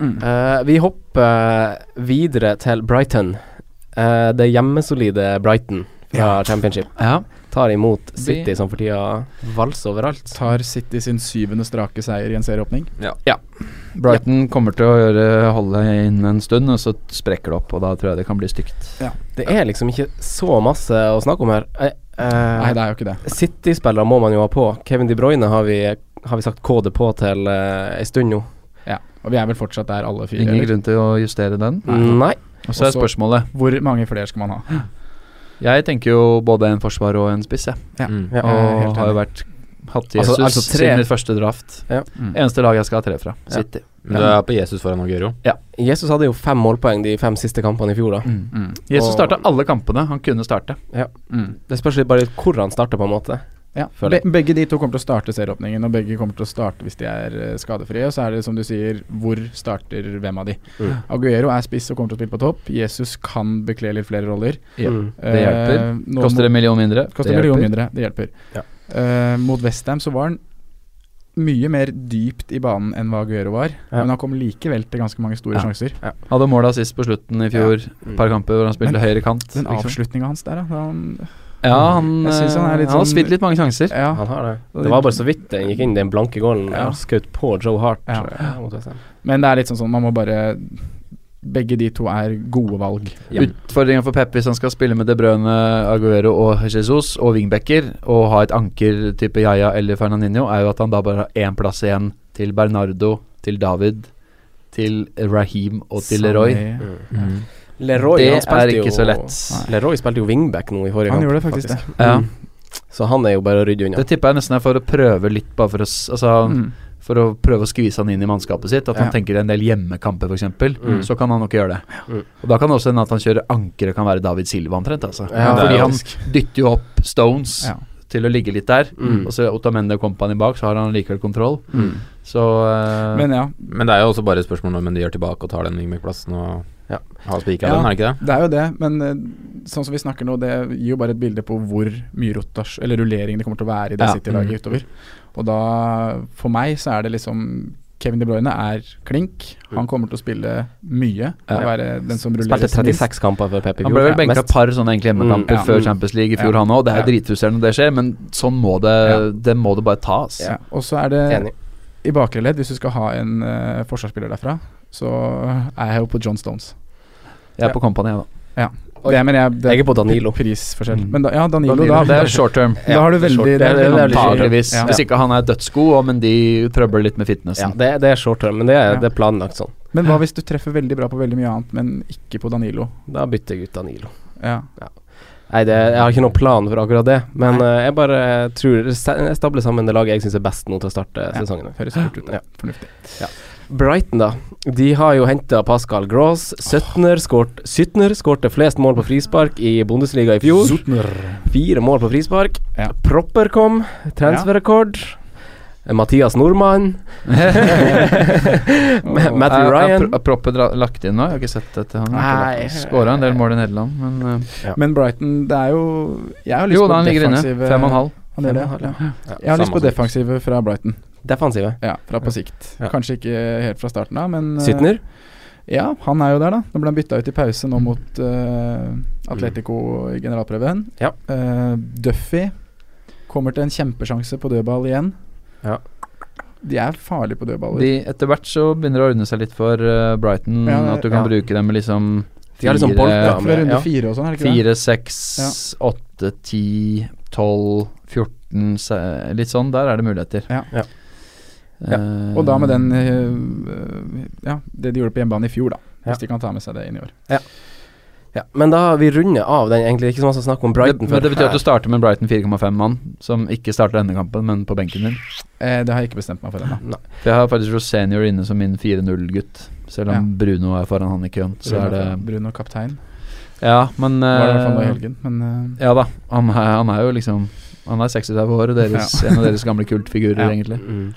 A: Mm.
C: Eh, vi hopper videre til Brighton. Eh, det hjemmesolide Brighton fra Championship
D: ja.
C: tar imot City,
D: Vi-
C: som for tida valser overalt.
A: Tar City sin syvende strake seier i en serieåpning.
D: Brighton kommer til å gjøre, holde inn en stund, og så sprekker det opp. Og da tror jeg det kan bli stygt.
C: Det er liksom ikke så masse å snakke om her. Eh, eh,
A: Nei, det er jo ikke det.
C: City-spillere må man jo ha på. Kevin De Bruyne har vi, har vi sagt KD på til uh, ei stund nå.
A: Ja. Og vi er vel fortsatt der, alle fire.
D: Ingen
A: Eller?
D: grunn til å justere den.
C: Nei.
D: Og så er
A: Også-
D: spørsmålet
A: Hvor mange flere skal man ha?
D: Jeg tenker jo både en forsvar og en spiss, jeg.
A: Ja.
B: Mm.
C: Ja.
A: Jeg er
D: Og
A: helt
D: har jo
A: enig.
D: vært hatt Jesus
C: Altså- altså tre-
D: siden mitt første draft.
A: Mm.
D: Eneste lag jeg skal ha tre fra. City.
B: Men det er på Jesus foran Aguero.
C: Jesus hadde jo fem målpoeng de fem siste kampene i fjor, da.
D: Mm.
A: Mm.
D: Jesus
C: Og-
D: starta alle kampene han kunne starte.
A: Mm.
C: Det spørs litt bare litt hvor han starter, på en måte.
A: Ja.
C: Føler
A: Be begge de to kommer til å starte serieåpningen, og begge kommer til å starte hvis de er eh, skadefrie. Og så er det som du sier, hvor starter hvem av de?
C: Mm.
A: Aguero er spiss og kommer til å spille på topp. Jesus kan bekle litt flere roller.
D: Ja.
C: Mm.
D: Det hjelper.
A: Eh, nå
D: Koster
A: må-
D: en million mindre.
A: Koster en
D: det
A: million
D: hjelper.
A: mindre, det hjelper.
C: Ja.
A: Eh, mot Westham så var han mye mer dypt i banen enn hva Aguero var,
C: Ja.
A: men han kom likevel til ganske mange store
C: Ja.
A: sjanser.
D: Hadde måla sist på slutten i fjor. Et
C: Mm.
D: par kamper hvor han spilte
A: Men-
D: høyre kant.
A: Den
D: liksom.
A: avslutninga hans der, da. da Han,
D: Ja, han,
A: Jeg synes han er
D: han,
A: litt
D: har
A: sånn-
D: spilt litt mange sjanser.
A: ja.
C: Han har det. Det var bare så vidt den gikk inn, den blanke gålen.
A: Ja.
C: Ja. Skaut på Joe Hart.
A: Ja.
C: eh, mot West Ham.
A: Men det er litt sånn sånn, man må bare Begge de to er gode valg.
B: Ja.
D: Utfordringen for Pep hvis han skal spille med De Brøne, Aguero og Jesus og wingbacker, og ha et anker type Yaya eller Fernandinho, er jo at han da bare har én plass igjen til Bernardo, til David, til Raheem og til Leroy.
A: Sané.
B: Mm.
C: Leroy,
D: det
C: han spilte
D: er ikke
C: jo-
D: så lett.
C: Leroy spilte jo wingback nå i forrige
A: Han
C: kamp.
A: gjorde det faktisk, det.
D: Ja.
C: Mm. Så han er jo bare å rydde unna.
D: Det tipper jeg nesten er for å prøve litt, bare for å, s- altså,
A: Mm.
D: for å prøve å skvise han inn i mannskapet sitt. At han
A: Ja.
D: tenker en del hjemmekamper, f.eks.
C: Mm.
D: Så kan han nok gjøre det.
C: Mm.
D: Og da kan det også hende at han kjører anker og kan være David Silva omtrent. Altså.
C: Ja,
B: det er jo-
D: Fordi han dytter jo opp Stones
A: Ja.
D: til å ligge litt der.
C: Mm.
D: Og så er Otamendi og company bak, så har han likevel kontroll. Så eh,
A: Men ja,
B: Men det er jo også bare et spørsmål når de gjør tilbake og tar den wingback-plassen og
C: Ja.
B: har spikra
A: Ja.
B: den, er det ikke det?
A: det er jo det, men eh, sånn som vi snakker nå, det gir jo bare et bilde på hvor mye rotasj, eller rullering det kommer til å være i det
D: Ja.
A: City-laget
B: Mm.
A: utover. Og da, for meg, så er det liksom Kevin De Bruyne er klink. Han kommer til å spille mye.
D: Ja.
A: Og være den som
C: Spilte
A: rulleres
C: 36 kamper for Pep i fjor.
D: han ble vel
C: Ja,
D: benka
C: mest.
D: et par sånne egentlig hjemmekamper
A: Mm, ja.
D: før
C: Mm.
D: Champions League i fjor,
A: Ja.
D: han òg. Det er
A: Ja.
D: dritfrustrerende når det skjer, men sånn må det Det må det bare tas.
A: Ja. Og så er det
C: Enig.
A: i bakre ledd, hvis du skal ha en eh, forsvarsspiller derfra, så er jeg jo på John Stones.
D: Jeg er på Company, jeg, da.
A: Det, men jeg, det
C: Jeg er på Danilo.
A: prisforskjell.
D: Mm.
A: Men da, ja, Danilo,
D: Ja, det
A: da,
D: er short term.
A: da har du veldig
C: short- det er-
A: det er-
C: det er veldig short term.
D: Antageligvis.
A: Ja.
D: Hvis ikke han er dødsgod, og- men de trøbler litt med
C: Ja,
D: fitnessen.
C: det, er- det er short term, men det er,
A: Ja.
C: det er planlagt sånn.
A: Men hva hvis du treffer veldig bra på veldig mye annet, men ikke på Danilo?
C: Da bytter jeg ut Danilo.
A: Ja.
C: Nei, det, jeg har ikke noen plan for akkurat det, men eh, jeg bare tror Jeg stabler sammen det laget jeg syns er best nå til å starte
A: Ja.
C: sesongen.
A: Høres lurt ut.
C: Ja.
A: Ja. Fornuftig.
C: Brighton, da. De har jo henta Pascal Gross. 17-er skåret 17 skårte flest mål på frispark i Bundesliga i fjor. Fire mål på frispark.
A: Ja.
C: Propper kom. Transferrekord. Mathias Nordmann. Ma- Matthew
D: Er- Er,
C: Ryan.
D: pro- er proppen dra- lagt inn nå? Jeg har ikke sett dette.
C: Nei.
D: Han skåra en del mål i Nederland, men eh,
A: Men Brighton, det er jo Jeg har lyst
D: Jo
A: på eh,
D: da, han ligger inne.
A: defensive-
D: Fem og en halv.
A: Han gjør det,
C: Fem og en
A: ja.
C: Ja,
A: Jeg har lyst
B: samme
A: på
B: som-
A: defensive fra Brighton.
C: Defensive.
A: Ja, fra på sikt.
C: Ja.
A: Kanskje ikke helt fra starten av, men eh,
C: Sytner.
A: Ja, han er jo der, da. Nå ble han bytta ut i pause nå mot eh, Atletico i generalprøven.
C: Ja.
A: Eh, Duffy kommer til en kjempesjanse på dødball igjen.
C: Ja.
A: De er farlige på dødballer.
D: De, etter hvert så begynner det å ordne seg litt for eh, Brighton,
A: Ja, ja,
D: at du kan
C: ja.
D: bruke dem med liksom
C: De har liksom
A: ja,
D: Fire-
C: bolka
A: fra
C: med
A: runde
C: ja.
A: fire og sånn, er det ikke det?
D: Fire, seks, åtte, ti, tolv, 14 se- Litt sånn. Der er det muligheter.
A: Ja.
C: Ja.
D: Eh,
A: Og da med den eh, Ja, det de gjorde på hjemmebane i fjor, da.
C: Ja.
A: Hvis de kan ta med seg det inn i år.
C: Ja. Men da vi runder av den, egentlig. Det er Ikke så masse snakk om Brighton.
D: det, men
C: for
D: det betyr at
C: her-
D: du starter med en Brighton 4,5-mann, som ikke starter denne kampen, men på benken din.
A: Eh, det har jeg ikke bestemt meg for ennå.
D: For Jeg har faktisk Rosenior inne som min 4-0-gutt, selv
A: Ja.
D: om Bruno er foran han i køen. Så er det
A: Bruno kaptein.
D: Ja, men
A: Var det i hvert fall nå i
D: eh,
A: helgen, men eh,
D: Ja da, han er, han er jo liksom Han er 36 år og deres, en av deres gamle kultfigurer,
A: Ja.
D: egentlig.
C: Mm.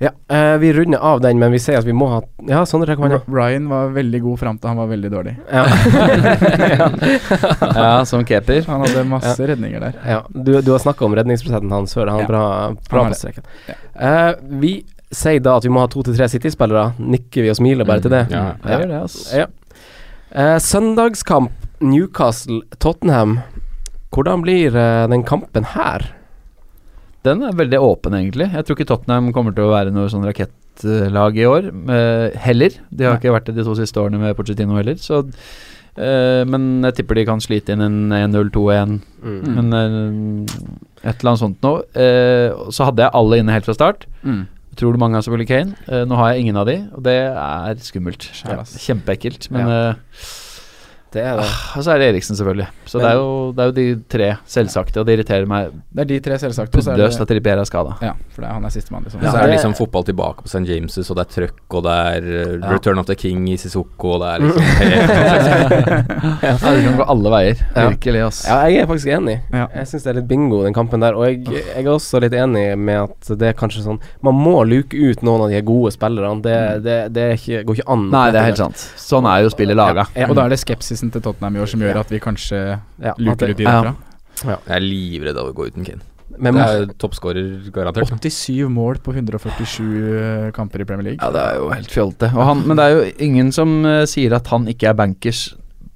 C: Ja, eh, vi runder av den, men vi sier at vi må ha Ja, Sondre rekker hånda.
A: Ryan var veldig god fram til han var veldig dårlig.
C: Ja.
D: Ja, som keeper.
A: Han hadde masse redninger der.
C: ja. Du, du har snakka om redningsprosenten hans før. Han er
A: Ja.
C: bra, bra
A: har
C: på
A: det.
C: streken. Eh, vi sier da at vi må ha to til tre City-spillere. Nikker vi og smiler
D: Mm.
C: bare til det?
B: Ja.
D: Jeg gjør det, ass.
C: Ja. Eh, søndagskamp Newcastle-Tottenham. Hvordan blir eh, den kampen her?
D: Den er veldig åpen, egentlig. Jeg tror ikke Tottenham kommer til å være noe sånn rakettlag i år. eh, heller. De har
A: Nei.
D: ikke vært det de to siste årene med Pochettino heller. Så, eh, men jeg tipper de kan slite inn en 1-0, 2-1,
A: Mm.
D: men eh, et eller annet sånt noe. Eh, og så hadde jeg alle inne helt fra start. Tror du mange har selvfølgelig Kane? Eh, nå har jeg ingen av de, og det er skummelt.
A: Skjær, ass.
D: Kjempeekkelt. Men eh,
C: Det er det.
D: og så er det Eriksen, selvfølgelig. Så det, er jo, det er jo de tre selvsagte, og det irriterer meg
A: Det er de tre selvsagte. og så er det-
D: buddøst at Ribera er skada.
A: Ja, for det er, han er sistemann, liksom.
B: Og så
C: Ja,
B: er det
C: det-
B: liksom fotball tilbake på St. James' og det er trøkk, og det er eh,
D: Ja.
B: Return of the King i Sissoko, og det er liksom helt
D: Ah, Ja, det kan gå alle veier.
C: Ja.
D: Virkelig, ass.
C: Ja, jeg er faktisk enig.
A: Ja.
C: Jeg syns det er litt bingo, den kampen der. Og jeg, jeg er også litt enig med at det er kanskje sånn Man må luke ut noen av de gode spillerne. Det, det, det er ikke, går ikke an.
D: Mm. Nei, det er helt sant. Sånn er jo spillet laga.
C: Ja,
A: Og da er det skepsisen til Tottenham i år som gjør at vi kanskje
C: Ja, at
A: luker ut de
C: det,
D: Ja.
A: derfra.
B: Jeg er livredd av å gå uten Kane.
C: men,
B: det er toppskårer garantert.
A: 87 mål på 147 eh, kamper i Premier League.
D: Ja, det er jo helt fjolte. Og han, men det er jo ingen som eh, sier at han ikke er bankers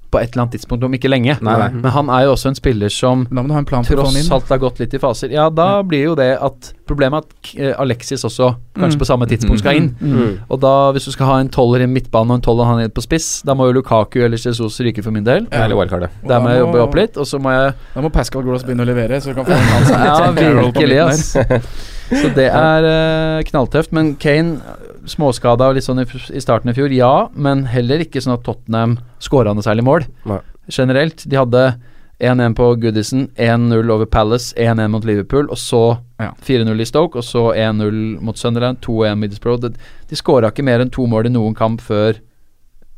D: på et eller annet tidspunkt, om ikke lenge.
B: Nei, nei.
D: Men han er jo også en spiller som
A: Men Da må du ha en plan for å få han
D: tross
A: inn.
D: alt har gått litt i faser. Ja, da blir jo det at Problemet er at eh, Alexis også kanskje
A: Mm.
D: på samme tidspunkt skal inn.
A: Mm.
D: Og da, hvis du skal ha en tolver i midtbane og en tolver han inn på spiss, da må jo Lukaku eller Jesus ryke for min del.
A: Ja.
B: Eller wildcardet.
A: Og
D: Der
A: da
D: må jeg jobbe opp litt, og så må jeg
A: Da må Pascal Gross begynne å levere, så du kan få en hans
D: Ja, virkelig,
A: midten
D: ass. Så det er eh, knalltøft. Men Kane, eh, småskada og litt sånn i, f- i starten i fjor, ja. Men heller ikke sånn at Tottenham skåra noe særlig mål.
C: Nei.
D: Generelt. De hadde 1-1 på Goodison, 1-0 over Palace, 1-1 mot Liverpool, og så
A: Ja.
D: 4-0 i Stoke, og så 1-0 mot Sunderland, 2-1 Middlesbrough. De, de skåra ikke mer enn to mål i noen kamp før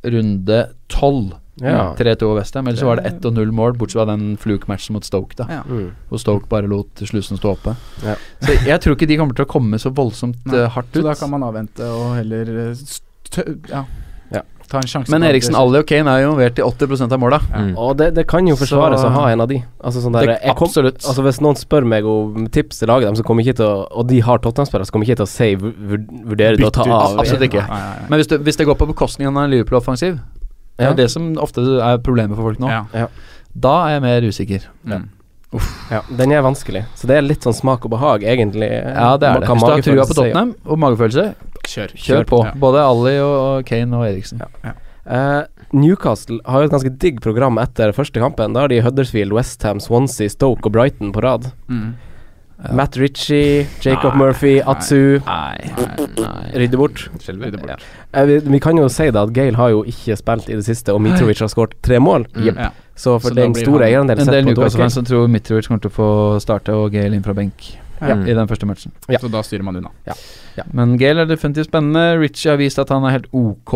D: runde 12.
C: Ja.
D: 3-2 over Westham, ellers så var det 1 og 0 mål, bortsett fra den flukematchen mot Stoke, da
C: mm.
D: hvor Stoke bare lot slusen stå oppe.
C: Ja.
D: Så jeg tror ikke de kommer til å komme så voldsomt
A: Nei,
D: eh, hardt
A: Så da
D: ut.
A: kan man avvente og heller eh, stø- ja,
C: Ja.
A: ta en sjanse.
D: Men
A: på at
D: Eriksen,
A: det-
D: Ali og Kane er jo involvert i 80 av måla.
B: Mm.
C: Og det, det kan jo forsvares
D: Så-
C: å ha en av de. Altså sånn der
D: Det-
C: jeg kom,
D: Absolutt.
C: Altså Hvis noen spør meg om tips til laget dem, så kommer jeg ikke til å Og de har Tottenham-spillere, så kommer jeg ikke til å si vur- vur- vurdere det å ta
A: Bytte ut.
C: av.
D: Absolutt ikke.
A: Nei, nei, nei.
D: Men hvis det, hvis det går på bekostning av en Liverpool-offensiv, det er
C: Ja.
D: jo det som ofte er problemet for folk nå,
A: Ja.
D: da er jeg mer usikker.
A: Mm.
C: Ja, den er vanskelig. Så det er litt sånn smak og behag, egentlig.
D: Ja, det er det. Hvis du har trua på Tottenham og magefølelse,
A: Kjør.
D: kjør på.
A: Ja.
D: Både Ali og Kane og Eriksen.
C: Ja. Eh, Newcastle har jo et ganske digg program etter første kampen. Da har de Huddersfield, Westham, Swansea, Stoke og Brighton på rad.
A: Mm.
C: Matt Ritchie, Jacob
A: Nei,
C: Murphy,
A: nei.
C: Atsu
D: Nei, nei
C: rydder bort.
B: Skjelver.
A: Rydde bort.
C: Eh, vi, vi kan jo si da at Gale har jo ikke spilt i det siste, og Mitrovic har skåret tre mål.
D: Mm.
B: Jep.
A: Ja.
C: Så for
A: Mm. Så da
C: den
A: blir
C: store
A: han-
C: eierandelen
D: En
C: sett
D: del
C: på Dorkey.
D: Newcastle-fans som tror Mitrovic kommer til å få starte og Gale inn fra benk
A: Ja.
B: Mm.
D: i den første matchen.
C: Ja.
A: Så da styrer man unna.
D: Men Gale er definitivt spennende. Richie har vist at han er helt ok.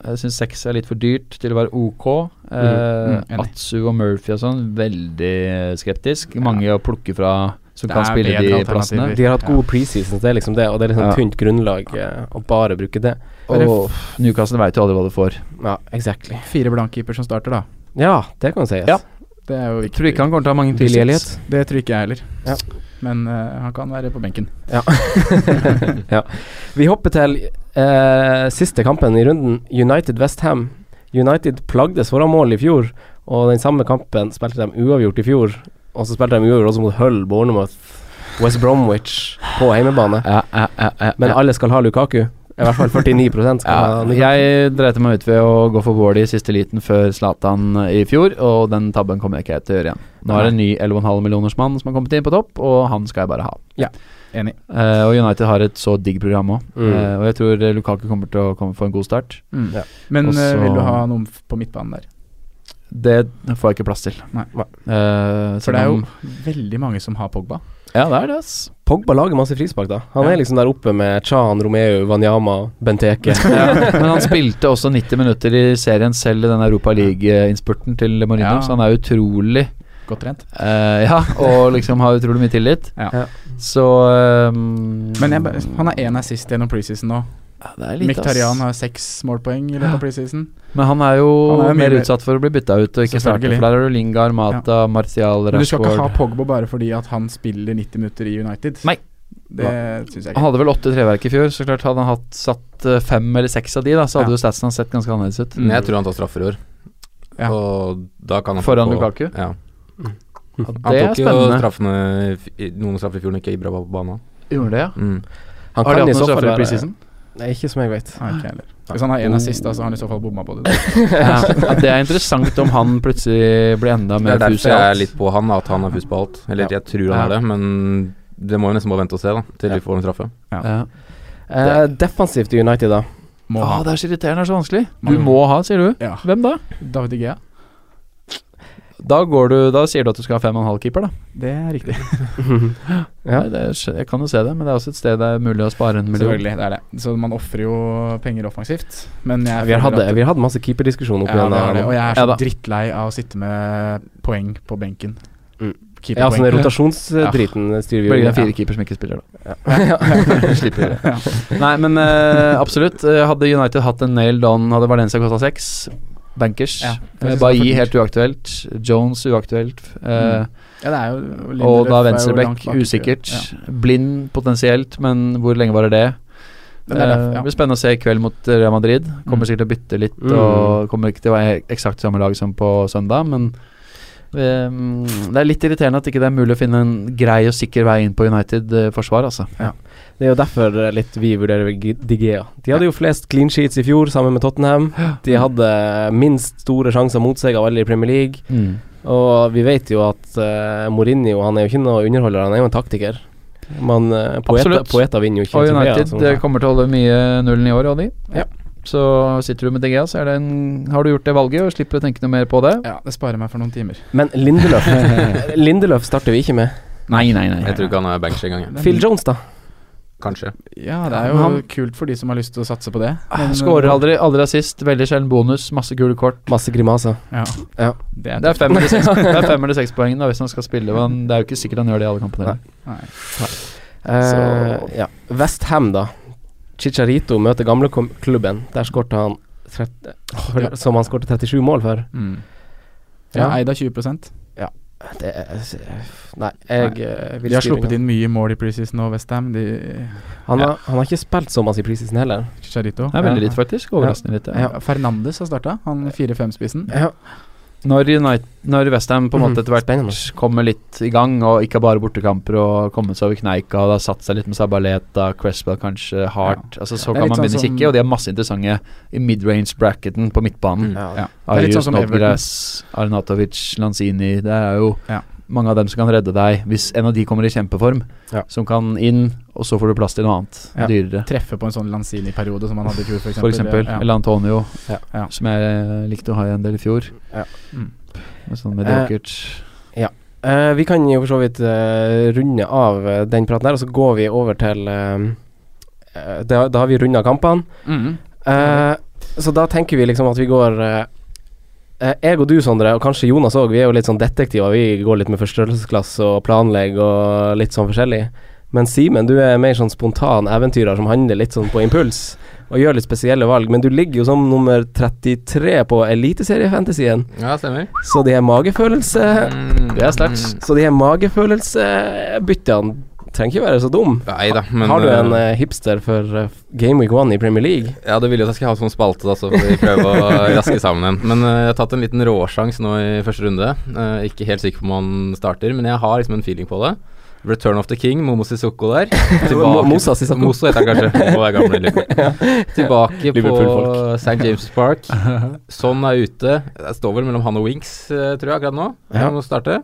D: Jeg syns seks er litt for dyrt til å være ok. Eh,
A: Mm, enig.
D: Atsu og Murphy og sånn, veldig skeptisk. Mange å plukke fra som
A: Det
D: kan
A: er
D: spille de
A: bedre
D: plassene.
A: alternativer.
C: De har hatt
A: Ja.
C: god preseason, så det er liksom det, og det er liksom
D: Ja.
C: tynt grunnlag eh, å bare bruke det.
D: Og Newcastle veit jo aldri hva du får.
C: Ja, exactly.
A: Fire blankkeeper som starter, da.
C: Ja, det kan sies.
D: Ja.
A: Det er jo
D: Jeg tror ikke han kommer til å ha mange tilgjeldighet.
A: Det tror ikke jeg heller.
C: Ja.
A: Men eh, han kan være på benken.
C: ja. Vi hopper til eh, siste kampen i runden, United-Westham. United plagdes foran mål i fjor, og den samme kampen spilte de uavgjort i fjor. Og så spilte de uavgjort også mot Hull, Bournemouth, West Bromwich på hjemmebane.
D: Ja, ja, ja, ja,
C: Men
D: ja.
C: alle skal ha Lukaku. I hvert fall 49 skal ha
D: Ja,
C: Lukaku.
D: jeg dreit meg ut ved å gå for Wardy i siste liten før Zlatan eh, i fjor, og den tabben kommer jeg ikke til å gjøre igjen. Nå er det en ny 11,5 millioners mann som har kommet inn på topp, og han skal jeg bare ha.
A: Enig.
D: Eh, og United har et så digg program òg,
C: Mm.
D: og jeg tror eh, Lukaku kommer til å komme for en god start.
A: Mm.
C: Ja.
A: Men
D: Og så-
A: eh, vil du ha noen f- på midtbanen der?
D: Det får jeg ikke plass til.
A: Nei.
D: Eh,
A: For det er jo veldig mange som har Pogba.
D: Ja, det er det, ass.
C: Pogba lager masse frispark, da. Han
A: Ja.
C: er liksom der oppe med Chan, Romeo, Wanyama, Benteke.
D: Ja, men han spilte også 90 minutter i serien selv i den Europa League-innspurten til Mourinho,
A: Ja.
D: så han er utrolig
A: Godt trent.
D: Eh, ja, og liksom har utrolig mye tillit.
A: Ja.
C: Ja.
D: Så ehm,
A: Men jeg, ba- han er én assist gjennom preseason nå.
D: ja, det er lite, ass.
A: Mkhitaryan har seks målpoeng i løpet av preseason.
D: Men han er jo
A: Han er jo mye
D: mer
A: mer-
D: utsatt for å bli bytta ut og ikke starte.
A: Selvfølgelig.
D: For der er det Lingard, Mata, Martial,
A: Men du skal ikke ha
D: Rashford
A: Pogba bare fordi at han spiller 90 minutter i United.
D: Nei.
A: Det syns jeg
D: Han
A: ikke.
D: hadde vel åtte treverk i fjor, så klart hadde han hatt satt eh, fem eller seks av de, da, så hadde
A: Ja.
D: jo statsen hans sett ganske annerledes ut.
B: Men jeg tror han tar straffer i år.
A: Ja.
B: Og da kan han
D: Foran
B: få-
D: Lukaku?
B: Ja.
D: Ja,
B: Han
D: det er
B: tok jo
D: spennende.
B: straffene i f- i- noen straffer i fjor når Keibra var på banen.
D: Gjorde det, ja.
B: Mm.
C: Han
D: Har de
C: kan i
D: hatt
C: så
D: noen
C: fall
D: straffer i
C: være-
D: preseason?
C: Nei, ikke som jeg vet.
A: Nei, ikke jeg heller. Hvis han har én assist, da, så har han i så fall bomma på det.
D: Ja, ja, det er interessant om han plutselig blir enda
B: Det er
D: mer fus
B: derfor
D: i
B: jeg er
D: alt.
B: litt på han, at han er fus på alt. Eller jeg tror han
D: Ja.
B: er det, men det må jo nesten bare vente og se, da. Til vi får en straffe.
D: Ja.
C: Eh, defensivt i United, da.
A: Må
D: Åh,
A: ha.
D: Ah, det er så irriterende, det er så vanskelig. Du
A: Man-
D: må ha, sier du.
A: Ja.
D: Hvem da?
A: David Igea.
D: Da, går du, da sier du at du skal ha fem og en halv keeper, da.
A: Det er riktig.
C: Ja.
D: Nei, det er, skj- jeg kan jo se det, men det er også et sted det er mulig å spare en million.
A: Selvfølgelig. Det er det. Så man ofrer jo penger offensivt. Men jeg
C: Vi har hatt,
A: føler at-
C: vi har hatt masse keeperdiskusjon oppi
A: Ja, det har det.
C: den.
A: Og jeg er
D: Ja
A: så
D: da.
A: drittlei av å sitte med poeng på benken.
C: Mm.
A: Keeperpoeng.
C: Ja, sånn den rotasjonsdriten styrer vi
D: Blir det
C: jo.
D: en firekeeper som ikke spiller, da.
C: Ja.
D: Slipper det. Nei, men eh, absolutt. Eh, Hadde United hatt en nailed on, hadde Valencia kosta seks. Bankers.
A: Ja,
D: Ja,
A: jeg synes det var for
D: Bailly
A: dyrt.
D: helt uaktuelt. Jones uaktuelt. Eh,
A: Ja, det er jo
D: Og
A: Lindeløf er jo
D: da
A: langt
D: venstreback
A: bak.
D: usikkert.
A: Ja.
D: Blind potensielt, men hvor lenge varer det?
A: Men det er derfor,
D: Eh,
A: ja.
D: blir spennende å se i kveld mot eh, Real Madrid.
A: Mm.
D: Kommer sikkert til å bytte litt.
C: Mm.
D: Og kommer ikke til å være he- eksakt samme lag som på søndag, men eh, mm, det er litt irriterende at ikke det er mulig å finne en grei og sikker vei inn på United-forsvar, altså.
C: Det er jo derfor eh, litt vi vurderer G- De Gea. De hadde jo flest clean sheets i fjor, sammen med Tottenham. De hadde minst store sjanser mot seg av alle i Premier League.
D: Mm.
C: Og vi vet jo at eh, Mourinho han er jo ikke noe underholder, han er jo en taktiker. Men eh, poeta,
D: Absolutt.
C: poeta vinner jo ikke.
D: Og
C: trofeer,
D: United
C: altså.
D: eh, kommer til å holde mye nullen i år, og de.
C: Ja.
D: Så sitter du med DGA, så er det en, har du gjort det valget og slipper å tenke noe mer på det.
A: ja, det sparer meg for noen timer.
C: Men Lindeløf Lindeløf starter vi ikke med.
D: Nei, nei, nei.
B: Jeg tror ikke han er bankers engang, jeg.
A: Men-
C: Phil Jones, da.
B: kanskje.
A: Ja, det er jo
D: Men han-
A: kult for de som har lyst til å satse på det. eh,
D: Ah, Skårer aldri, aldri assist, veldig sjelden bonus, masse gule kort.
C: Masse grimaser.
A: Ja.
C: Ja.
A: Det er
D: Det er fem eller seks, det er fem eller seks poeng da, hvis han skal spille, men det er jo ikke sikkert han gjør det i alle kampene.
A: Nei.
C: Uh, ja. Westham, da. Chicharito møter gamleklubben. Der skårte han trett- for,
A: ja.
C: Som han skårte 37 mål for.
A: Mm. Ja,
C: Ja.
A: Eid av 20
C: Det er, nei, jeg eh, vil
A: De har
C: skrive
A: sluppet
C: den.
A: inn mye mål i preseason og Westham, de
C: Han, har, han har ikke spilt så masse i preseason heller.
A: Chicharito.
D: Det er veldig litt, faktisk. Overraskende litt. Ja.
A: Ja, Fernandes har starta, han 4-5-spissen.
C: Ja.
D: Når, Unite- når Westham på
A: Mhm.
D: en måte etter hvert
C: Spennende.
D: kommer litt i gang, og ikke bare bortekamper og kommet seg over kneika, og det har satt seg litt med Sabaleta, Cresswell kanskje, Hart altså, Så
A: Det er
D: kan
A: litt
D: man
A: sånn
D: begynne å
A: som-
D: kikke, og de er masse interessante i midrange-bracketen på midtbanen.
C: Ja.
A: Ja. Mm. Det er litt
D: Arius,
A: sånn som Everton.
D: Nobgras, Arnatovic, Lanzini Det er jo
A: Ja.
D: mange av dem som kan redde deg hvis en av de kommer i kjempeform,
C: Ja.
D: som kan inn, og så får du plass til noe annet
A: Ja.
D: dyrere.
A: Treffe på en sånn Lanzini-periode som han hadde i fjor, f.eks.
D: For eksempel. Eller Antonio,
C: Ja.
A: Ja.
D: som jeg eh, likte å ha i en del i fjor.
C: Ja.
A: Mm.
D: Med sånn med
C: Eh,
D: Dockert.
C: Eh, vi kan jo for så vidt eh, runde av eh, den praten her, og så går vi over til eh, eh, da, da har vi runda kampene.
A: mm.
C: Eh, så da tenker vi liksom at vi går eh, eh, Jeg og du, Sondre, og kanskje Jonas òg, vi er jo litt sånn detektiver. Vi går litt med forstørrelsesglass og planlegger og litt sånn forskjellig. Men Simen, du er mer sånn spontan eventyrer som handler litt sånn på impuls og gjør litt spesielle valg. Men du ligger jo som nummer 33 på Eliteseriefantasyen,
B: Ja, stemmer.
C: så de her magefølelse...
B: Det
D: er sterkt.
B: Mm.
C: Så de her magefølelsebyttene trenger ikke være så dum.
B: Nei da, men
C: Har du en
B: eh,
C: eh, hipster for eh, Game Week 1 i Premier League?
B: Ja, det ville jo at jeg skulle ha sånn spalte, da, så får vi prøve å raske sammen en. Men eh, jeg har tatt en liten råsjans nå i første runde. Eh, ikke helt sikker på om han starter, men jeg har liksom en feeling på det. Return of the King, Momo Sissoko der. Tilbake-
C: Mosa Sissoko.
B: Moso heter han kanskje. Momo er gammel i Liverpool. Tilbake på
C: Liverpool-folk.
B: St. James Park.
C: Uh-huh.
B: Sånn er ute. Det står vel mellom han og Winks, eh, tror jeg, akkurat nå.
C: Ja.
B: Han må starte.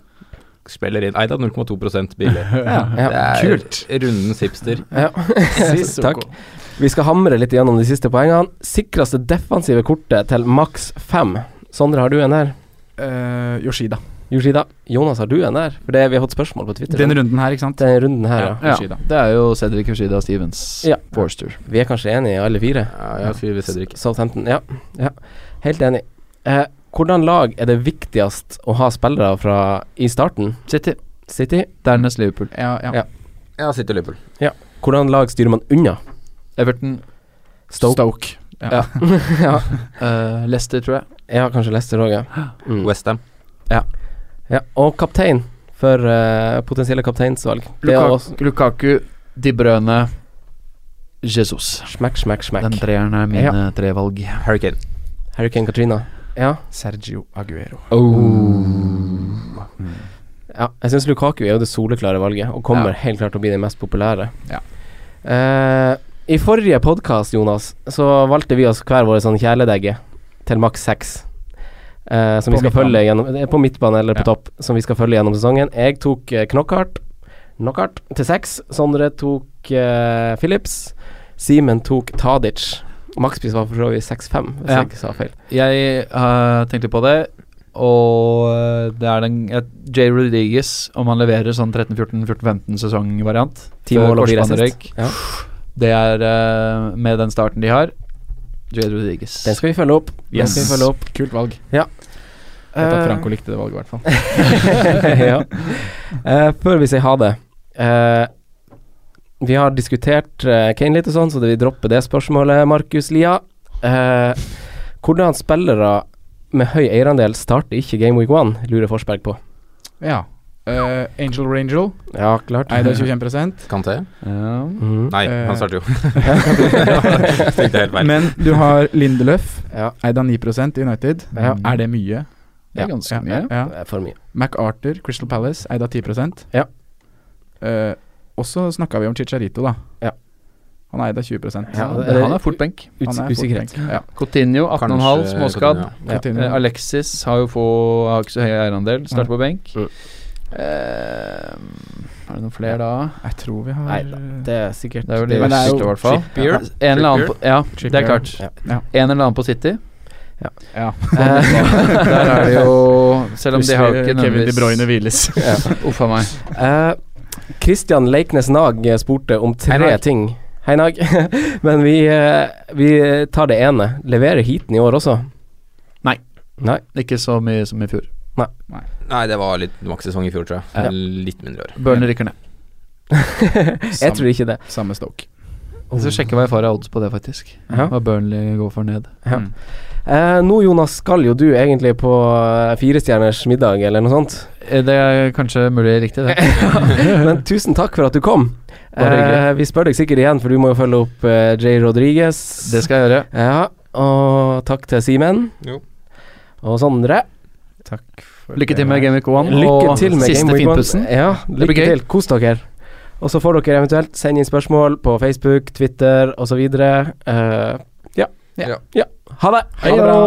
B: Spiller inn Nei da, 0,2 billig.
C: Ja,
B: Det er rundens hipster.
C: Ja. Takk. Vi skal hamre litt gjennom de siste poengene. Sikreste defensive kortet til maks fem. Sondre, har du en der?
A: Eh, Yoshida.
C: Yoshida. Jonas, har du en der? For det, vi har fått spørsmål på Twitter.
A: Den runden her, ikke sant?
C: Den runden her, ja.
D: Ja,
A: Yoshida.
D: det er jo Cedric Yoshida Stevens.
C: Ja.
D: Forster.
C: Vi er kanskje enige, alle fire?
B: Ja, jeg skriver Cedric.
C: Southampton, ja. ja. Helt enig. Eh, hvordan lag er det viktigst å ha spillere fra i starten?
D: City.
C: City.
D: Dernest Liverpool.
A: Ja, ja.
C: Ja.
B: Ja, sitter i Liverpool.
C: Hvordan lag styrer man unna?
D: Everton.
A: Stoke.
C: Stoke.
A: Ja.
C: ja.
D: eh, Leicester, tror jeg.
C: ja, kanskje Leicester òg, ja. Mm.
B: Westham.
C: ja. Og kaptein for eh, potensielle kapteinsvalg. Det er også
D: Lukaku, Lukaku De Brøne, Jesus.
C: smekk, smekk, smekk.
D: Den treeren er mine tre valg.
B: Hurricane.
C: Hurricane Katrina. Ja.
A: Sergio Aguero.
C: ja. Jeg syns Lukaku er jo det soleklare valget, og kommer
A: Ja.
C: helt klart til å bli den mest populære.
A: Ja.
C: Eh, I forrige podkast, Jonas, så valgte vi oss hver vår sånn kjæledegge til maks seks. eh, som
A: På
C: vi skal
A: midtbanen.
C: følge gjennom det er På midtbane eller på
A: Ja.
C: topp, som vi skal følge gjennom sesongen. Jeg tok eh, Knockhart Knockhart til seks. Sondre tok eh, Phillips. Simen tok Tadic. Makspris var for så vidt 6-5, hvis
D: Ja.
C: jeg ikke sa feil.
D: Jeg eh, tenkte på det, og eh, det er den eh, Jay Rodriguez, om han leverer sånn 13-14-14-15-sesongvariant
C: Ti mål og fire assist. Ja.
D: Det er eh, med den starten de har. Jay Rodriguez.
C: Den skal vi følge opp. Den
A: Yes.
C: skal vi følge opp.
A: Kult Eh. valg. Vet
D: Eh.
A: at Franco likte det valget, i hvert fall.
C: ja. Eh, før vi sier ha det eh, Vi har diskutert eh, Kane litt og sånn, så vi dropper det spørsmålet, Markus Lia. Eh, hvordan spillere med høy eierandel starter ikke Game Week 1, lurer Forsberg på.
A: Ja. Eh, Angel Rangel,
C: Ja, klart.
A: eid av 25
B: Kanté?
D: Ja.
C: Mhm.
B: Nei,
A: Eh.
B: han starter jo. Tenkte jeg helt feil.
A: Men du har Lindeløf,
C: Ja.
A: eid av 9 i United.
C: Ja.
A: Er det mye?
D: Det er
C: Ja.
D: ganske
A: Ja,
D: mye.
A: ja.
C: Det er For mye.
A: MacArthur, Crystal Palace, eid av 10
C: Ja.
A: Eh, og så snakka vi om Chicharito, da.
C: Ja.
A: Han er eid av 20
C: Ja,
D: Han-
C: det- det-
D: han er fort benk.
A: Han er
C: Uts usikkerhet.
A: fort benk. Ja.
D: Coutinho, 18,5,
B: Kanskje
D: småskadd.
B: Coutinho,
C: Ja.
A: Coutinho.
D: Eh, Alexis har jo få, har ikke så høy eierandel, starter på benk.
C: Mm.
D: Eh, er det noen flere da?
A: Jeg tror vi har
C: Nei da, det er sikkert
D: Det er vel
A: Men det
D: de
A: er jo
D: verste, i hvert fall.
B: Trippier.
D: En eller annen på,
B: Trippier.
D: ja, det
A: Trippier.
D: er klart.
C: Ja.
A: Ja.
D: En eller annen på City.
A: ja.
D: Eh, Der er det jo Selv om de har jo ikke
A: Plutselig Kevin De Bruyne
D: nødvendigvis
A: hviles.
D: Uff a meg.
C: Eh, Christian Leiknes Nag eh, spurte om tre
B: Hei, Nag.
C: ting. Hei, Nag. Men vi, eh, vi tar det ene. Leverer heaten i år også?
D: Nei.
C: Nei.
D: Ikke så mye som i fjor.
B: Nei, det var litt makssesong i fjor, tror jeg.
C: Ja.
B: Litt mindre i år.
D: Burnley rykker ned.
C: Jeg tror ikke det.
A: Samme Stoke.
D: Jeg skal sjekke hva jeg får av odds på det, faktisk.
C: Ja.
D: Hva Burnley går for ned.
C: Ja.
A: Mm.
C: Eh, nå, Jonas, skal jo du egentlig på eh, firestjerners middag, eller noe sånt.
D: Eh, Det er kanskje mulig riktig, det.
C: Men tusen takk for at du kom.
D: Bare hyggelig.
C: Eh, vi spør deg sikkert igjen, for du må jo følge opp eh, Jay Rodriguez.
D: Det skal jeg gjøre.
C: Ja, og takk til Simen.
B: Jo.
C: Og Sondre.
A: Takk for
D: Lykke til med
A: det.
D: Gameweek 1
C: Lykke
D: og
C: til med
D: siste
C: Game Week One.
D: finpussen.
C: Ja,
D: blir
C: lykke
D: gøy.
C: til. Kos dere. Og så får dere eventuelt sende inn spørsmål på Facebook, Twitter osv. Uh, ja.
B: Ja.
C: ja. Ha det.
A: Ha det bra.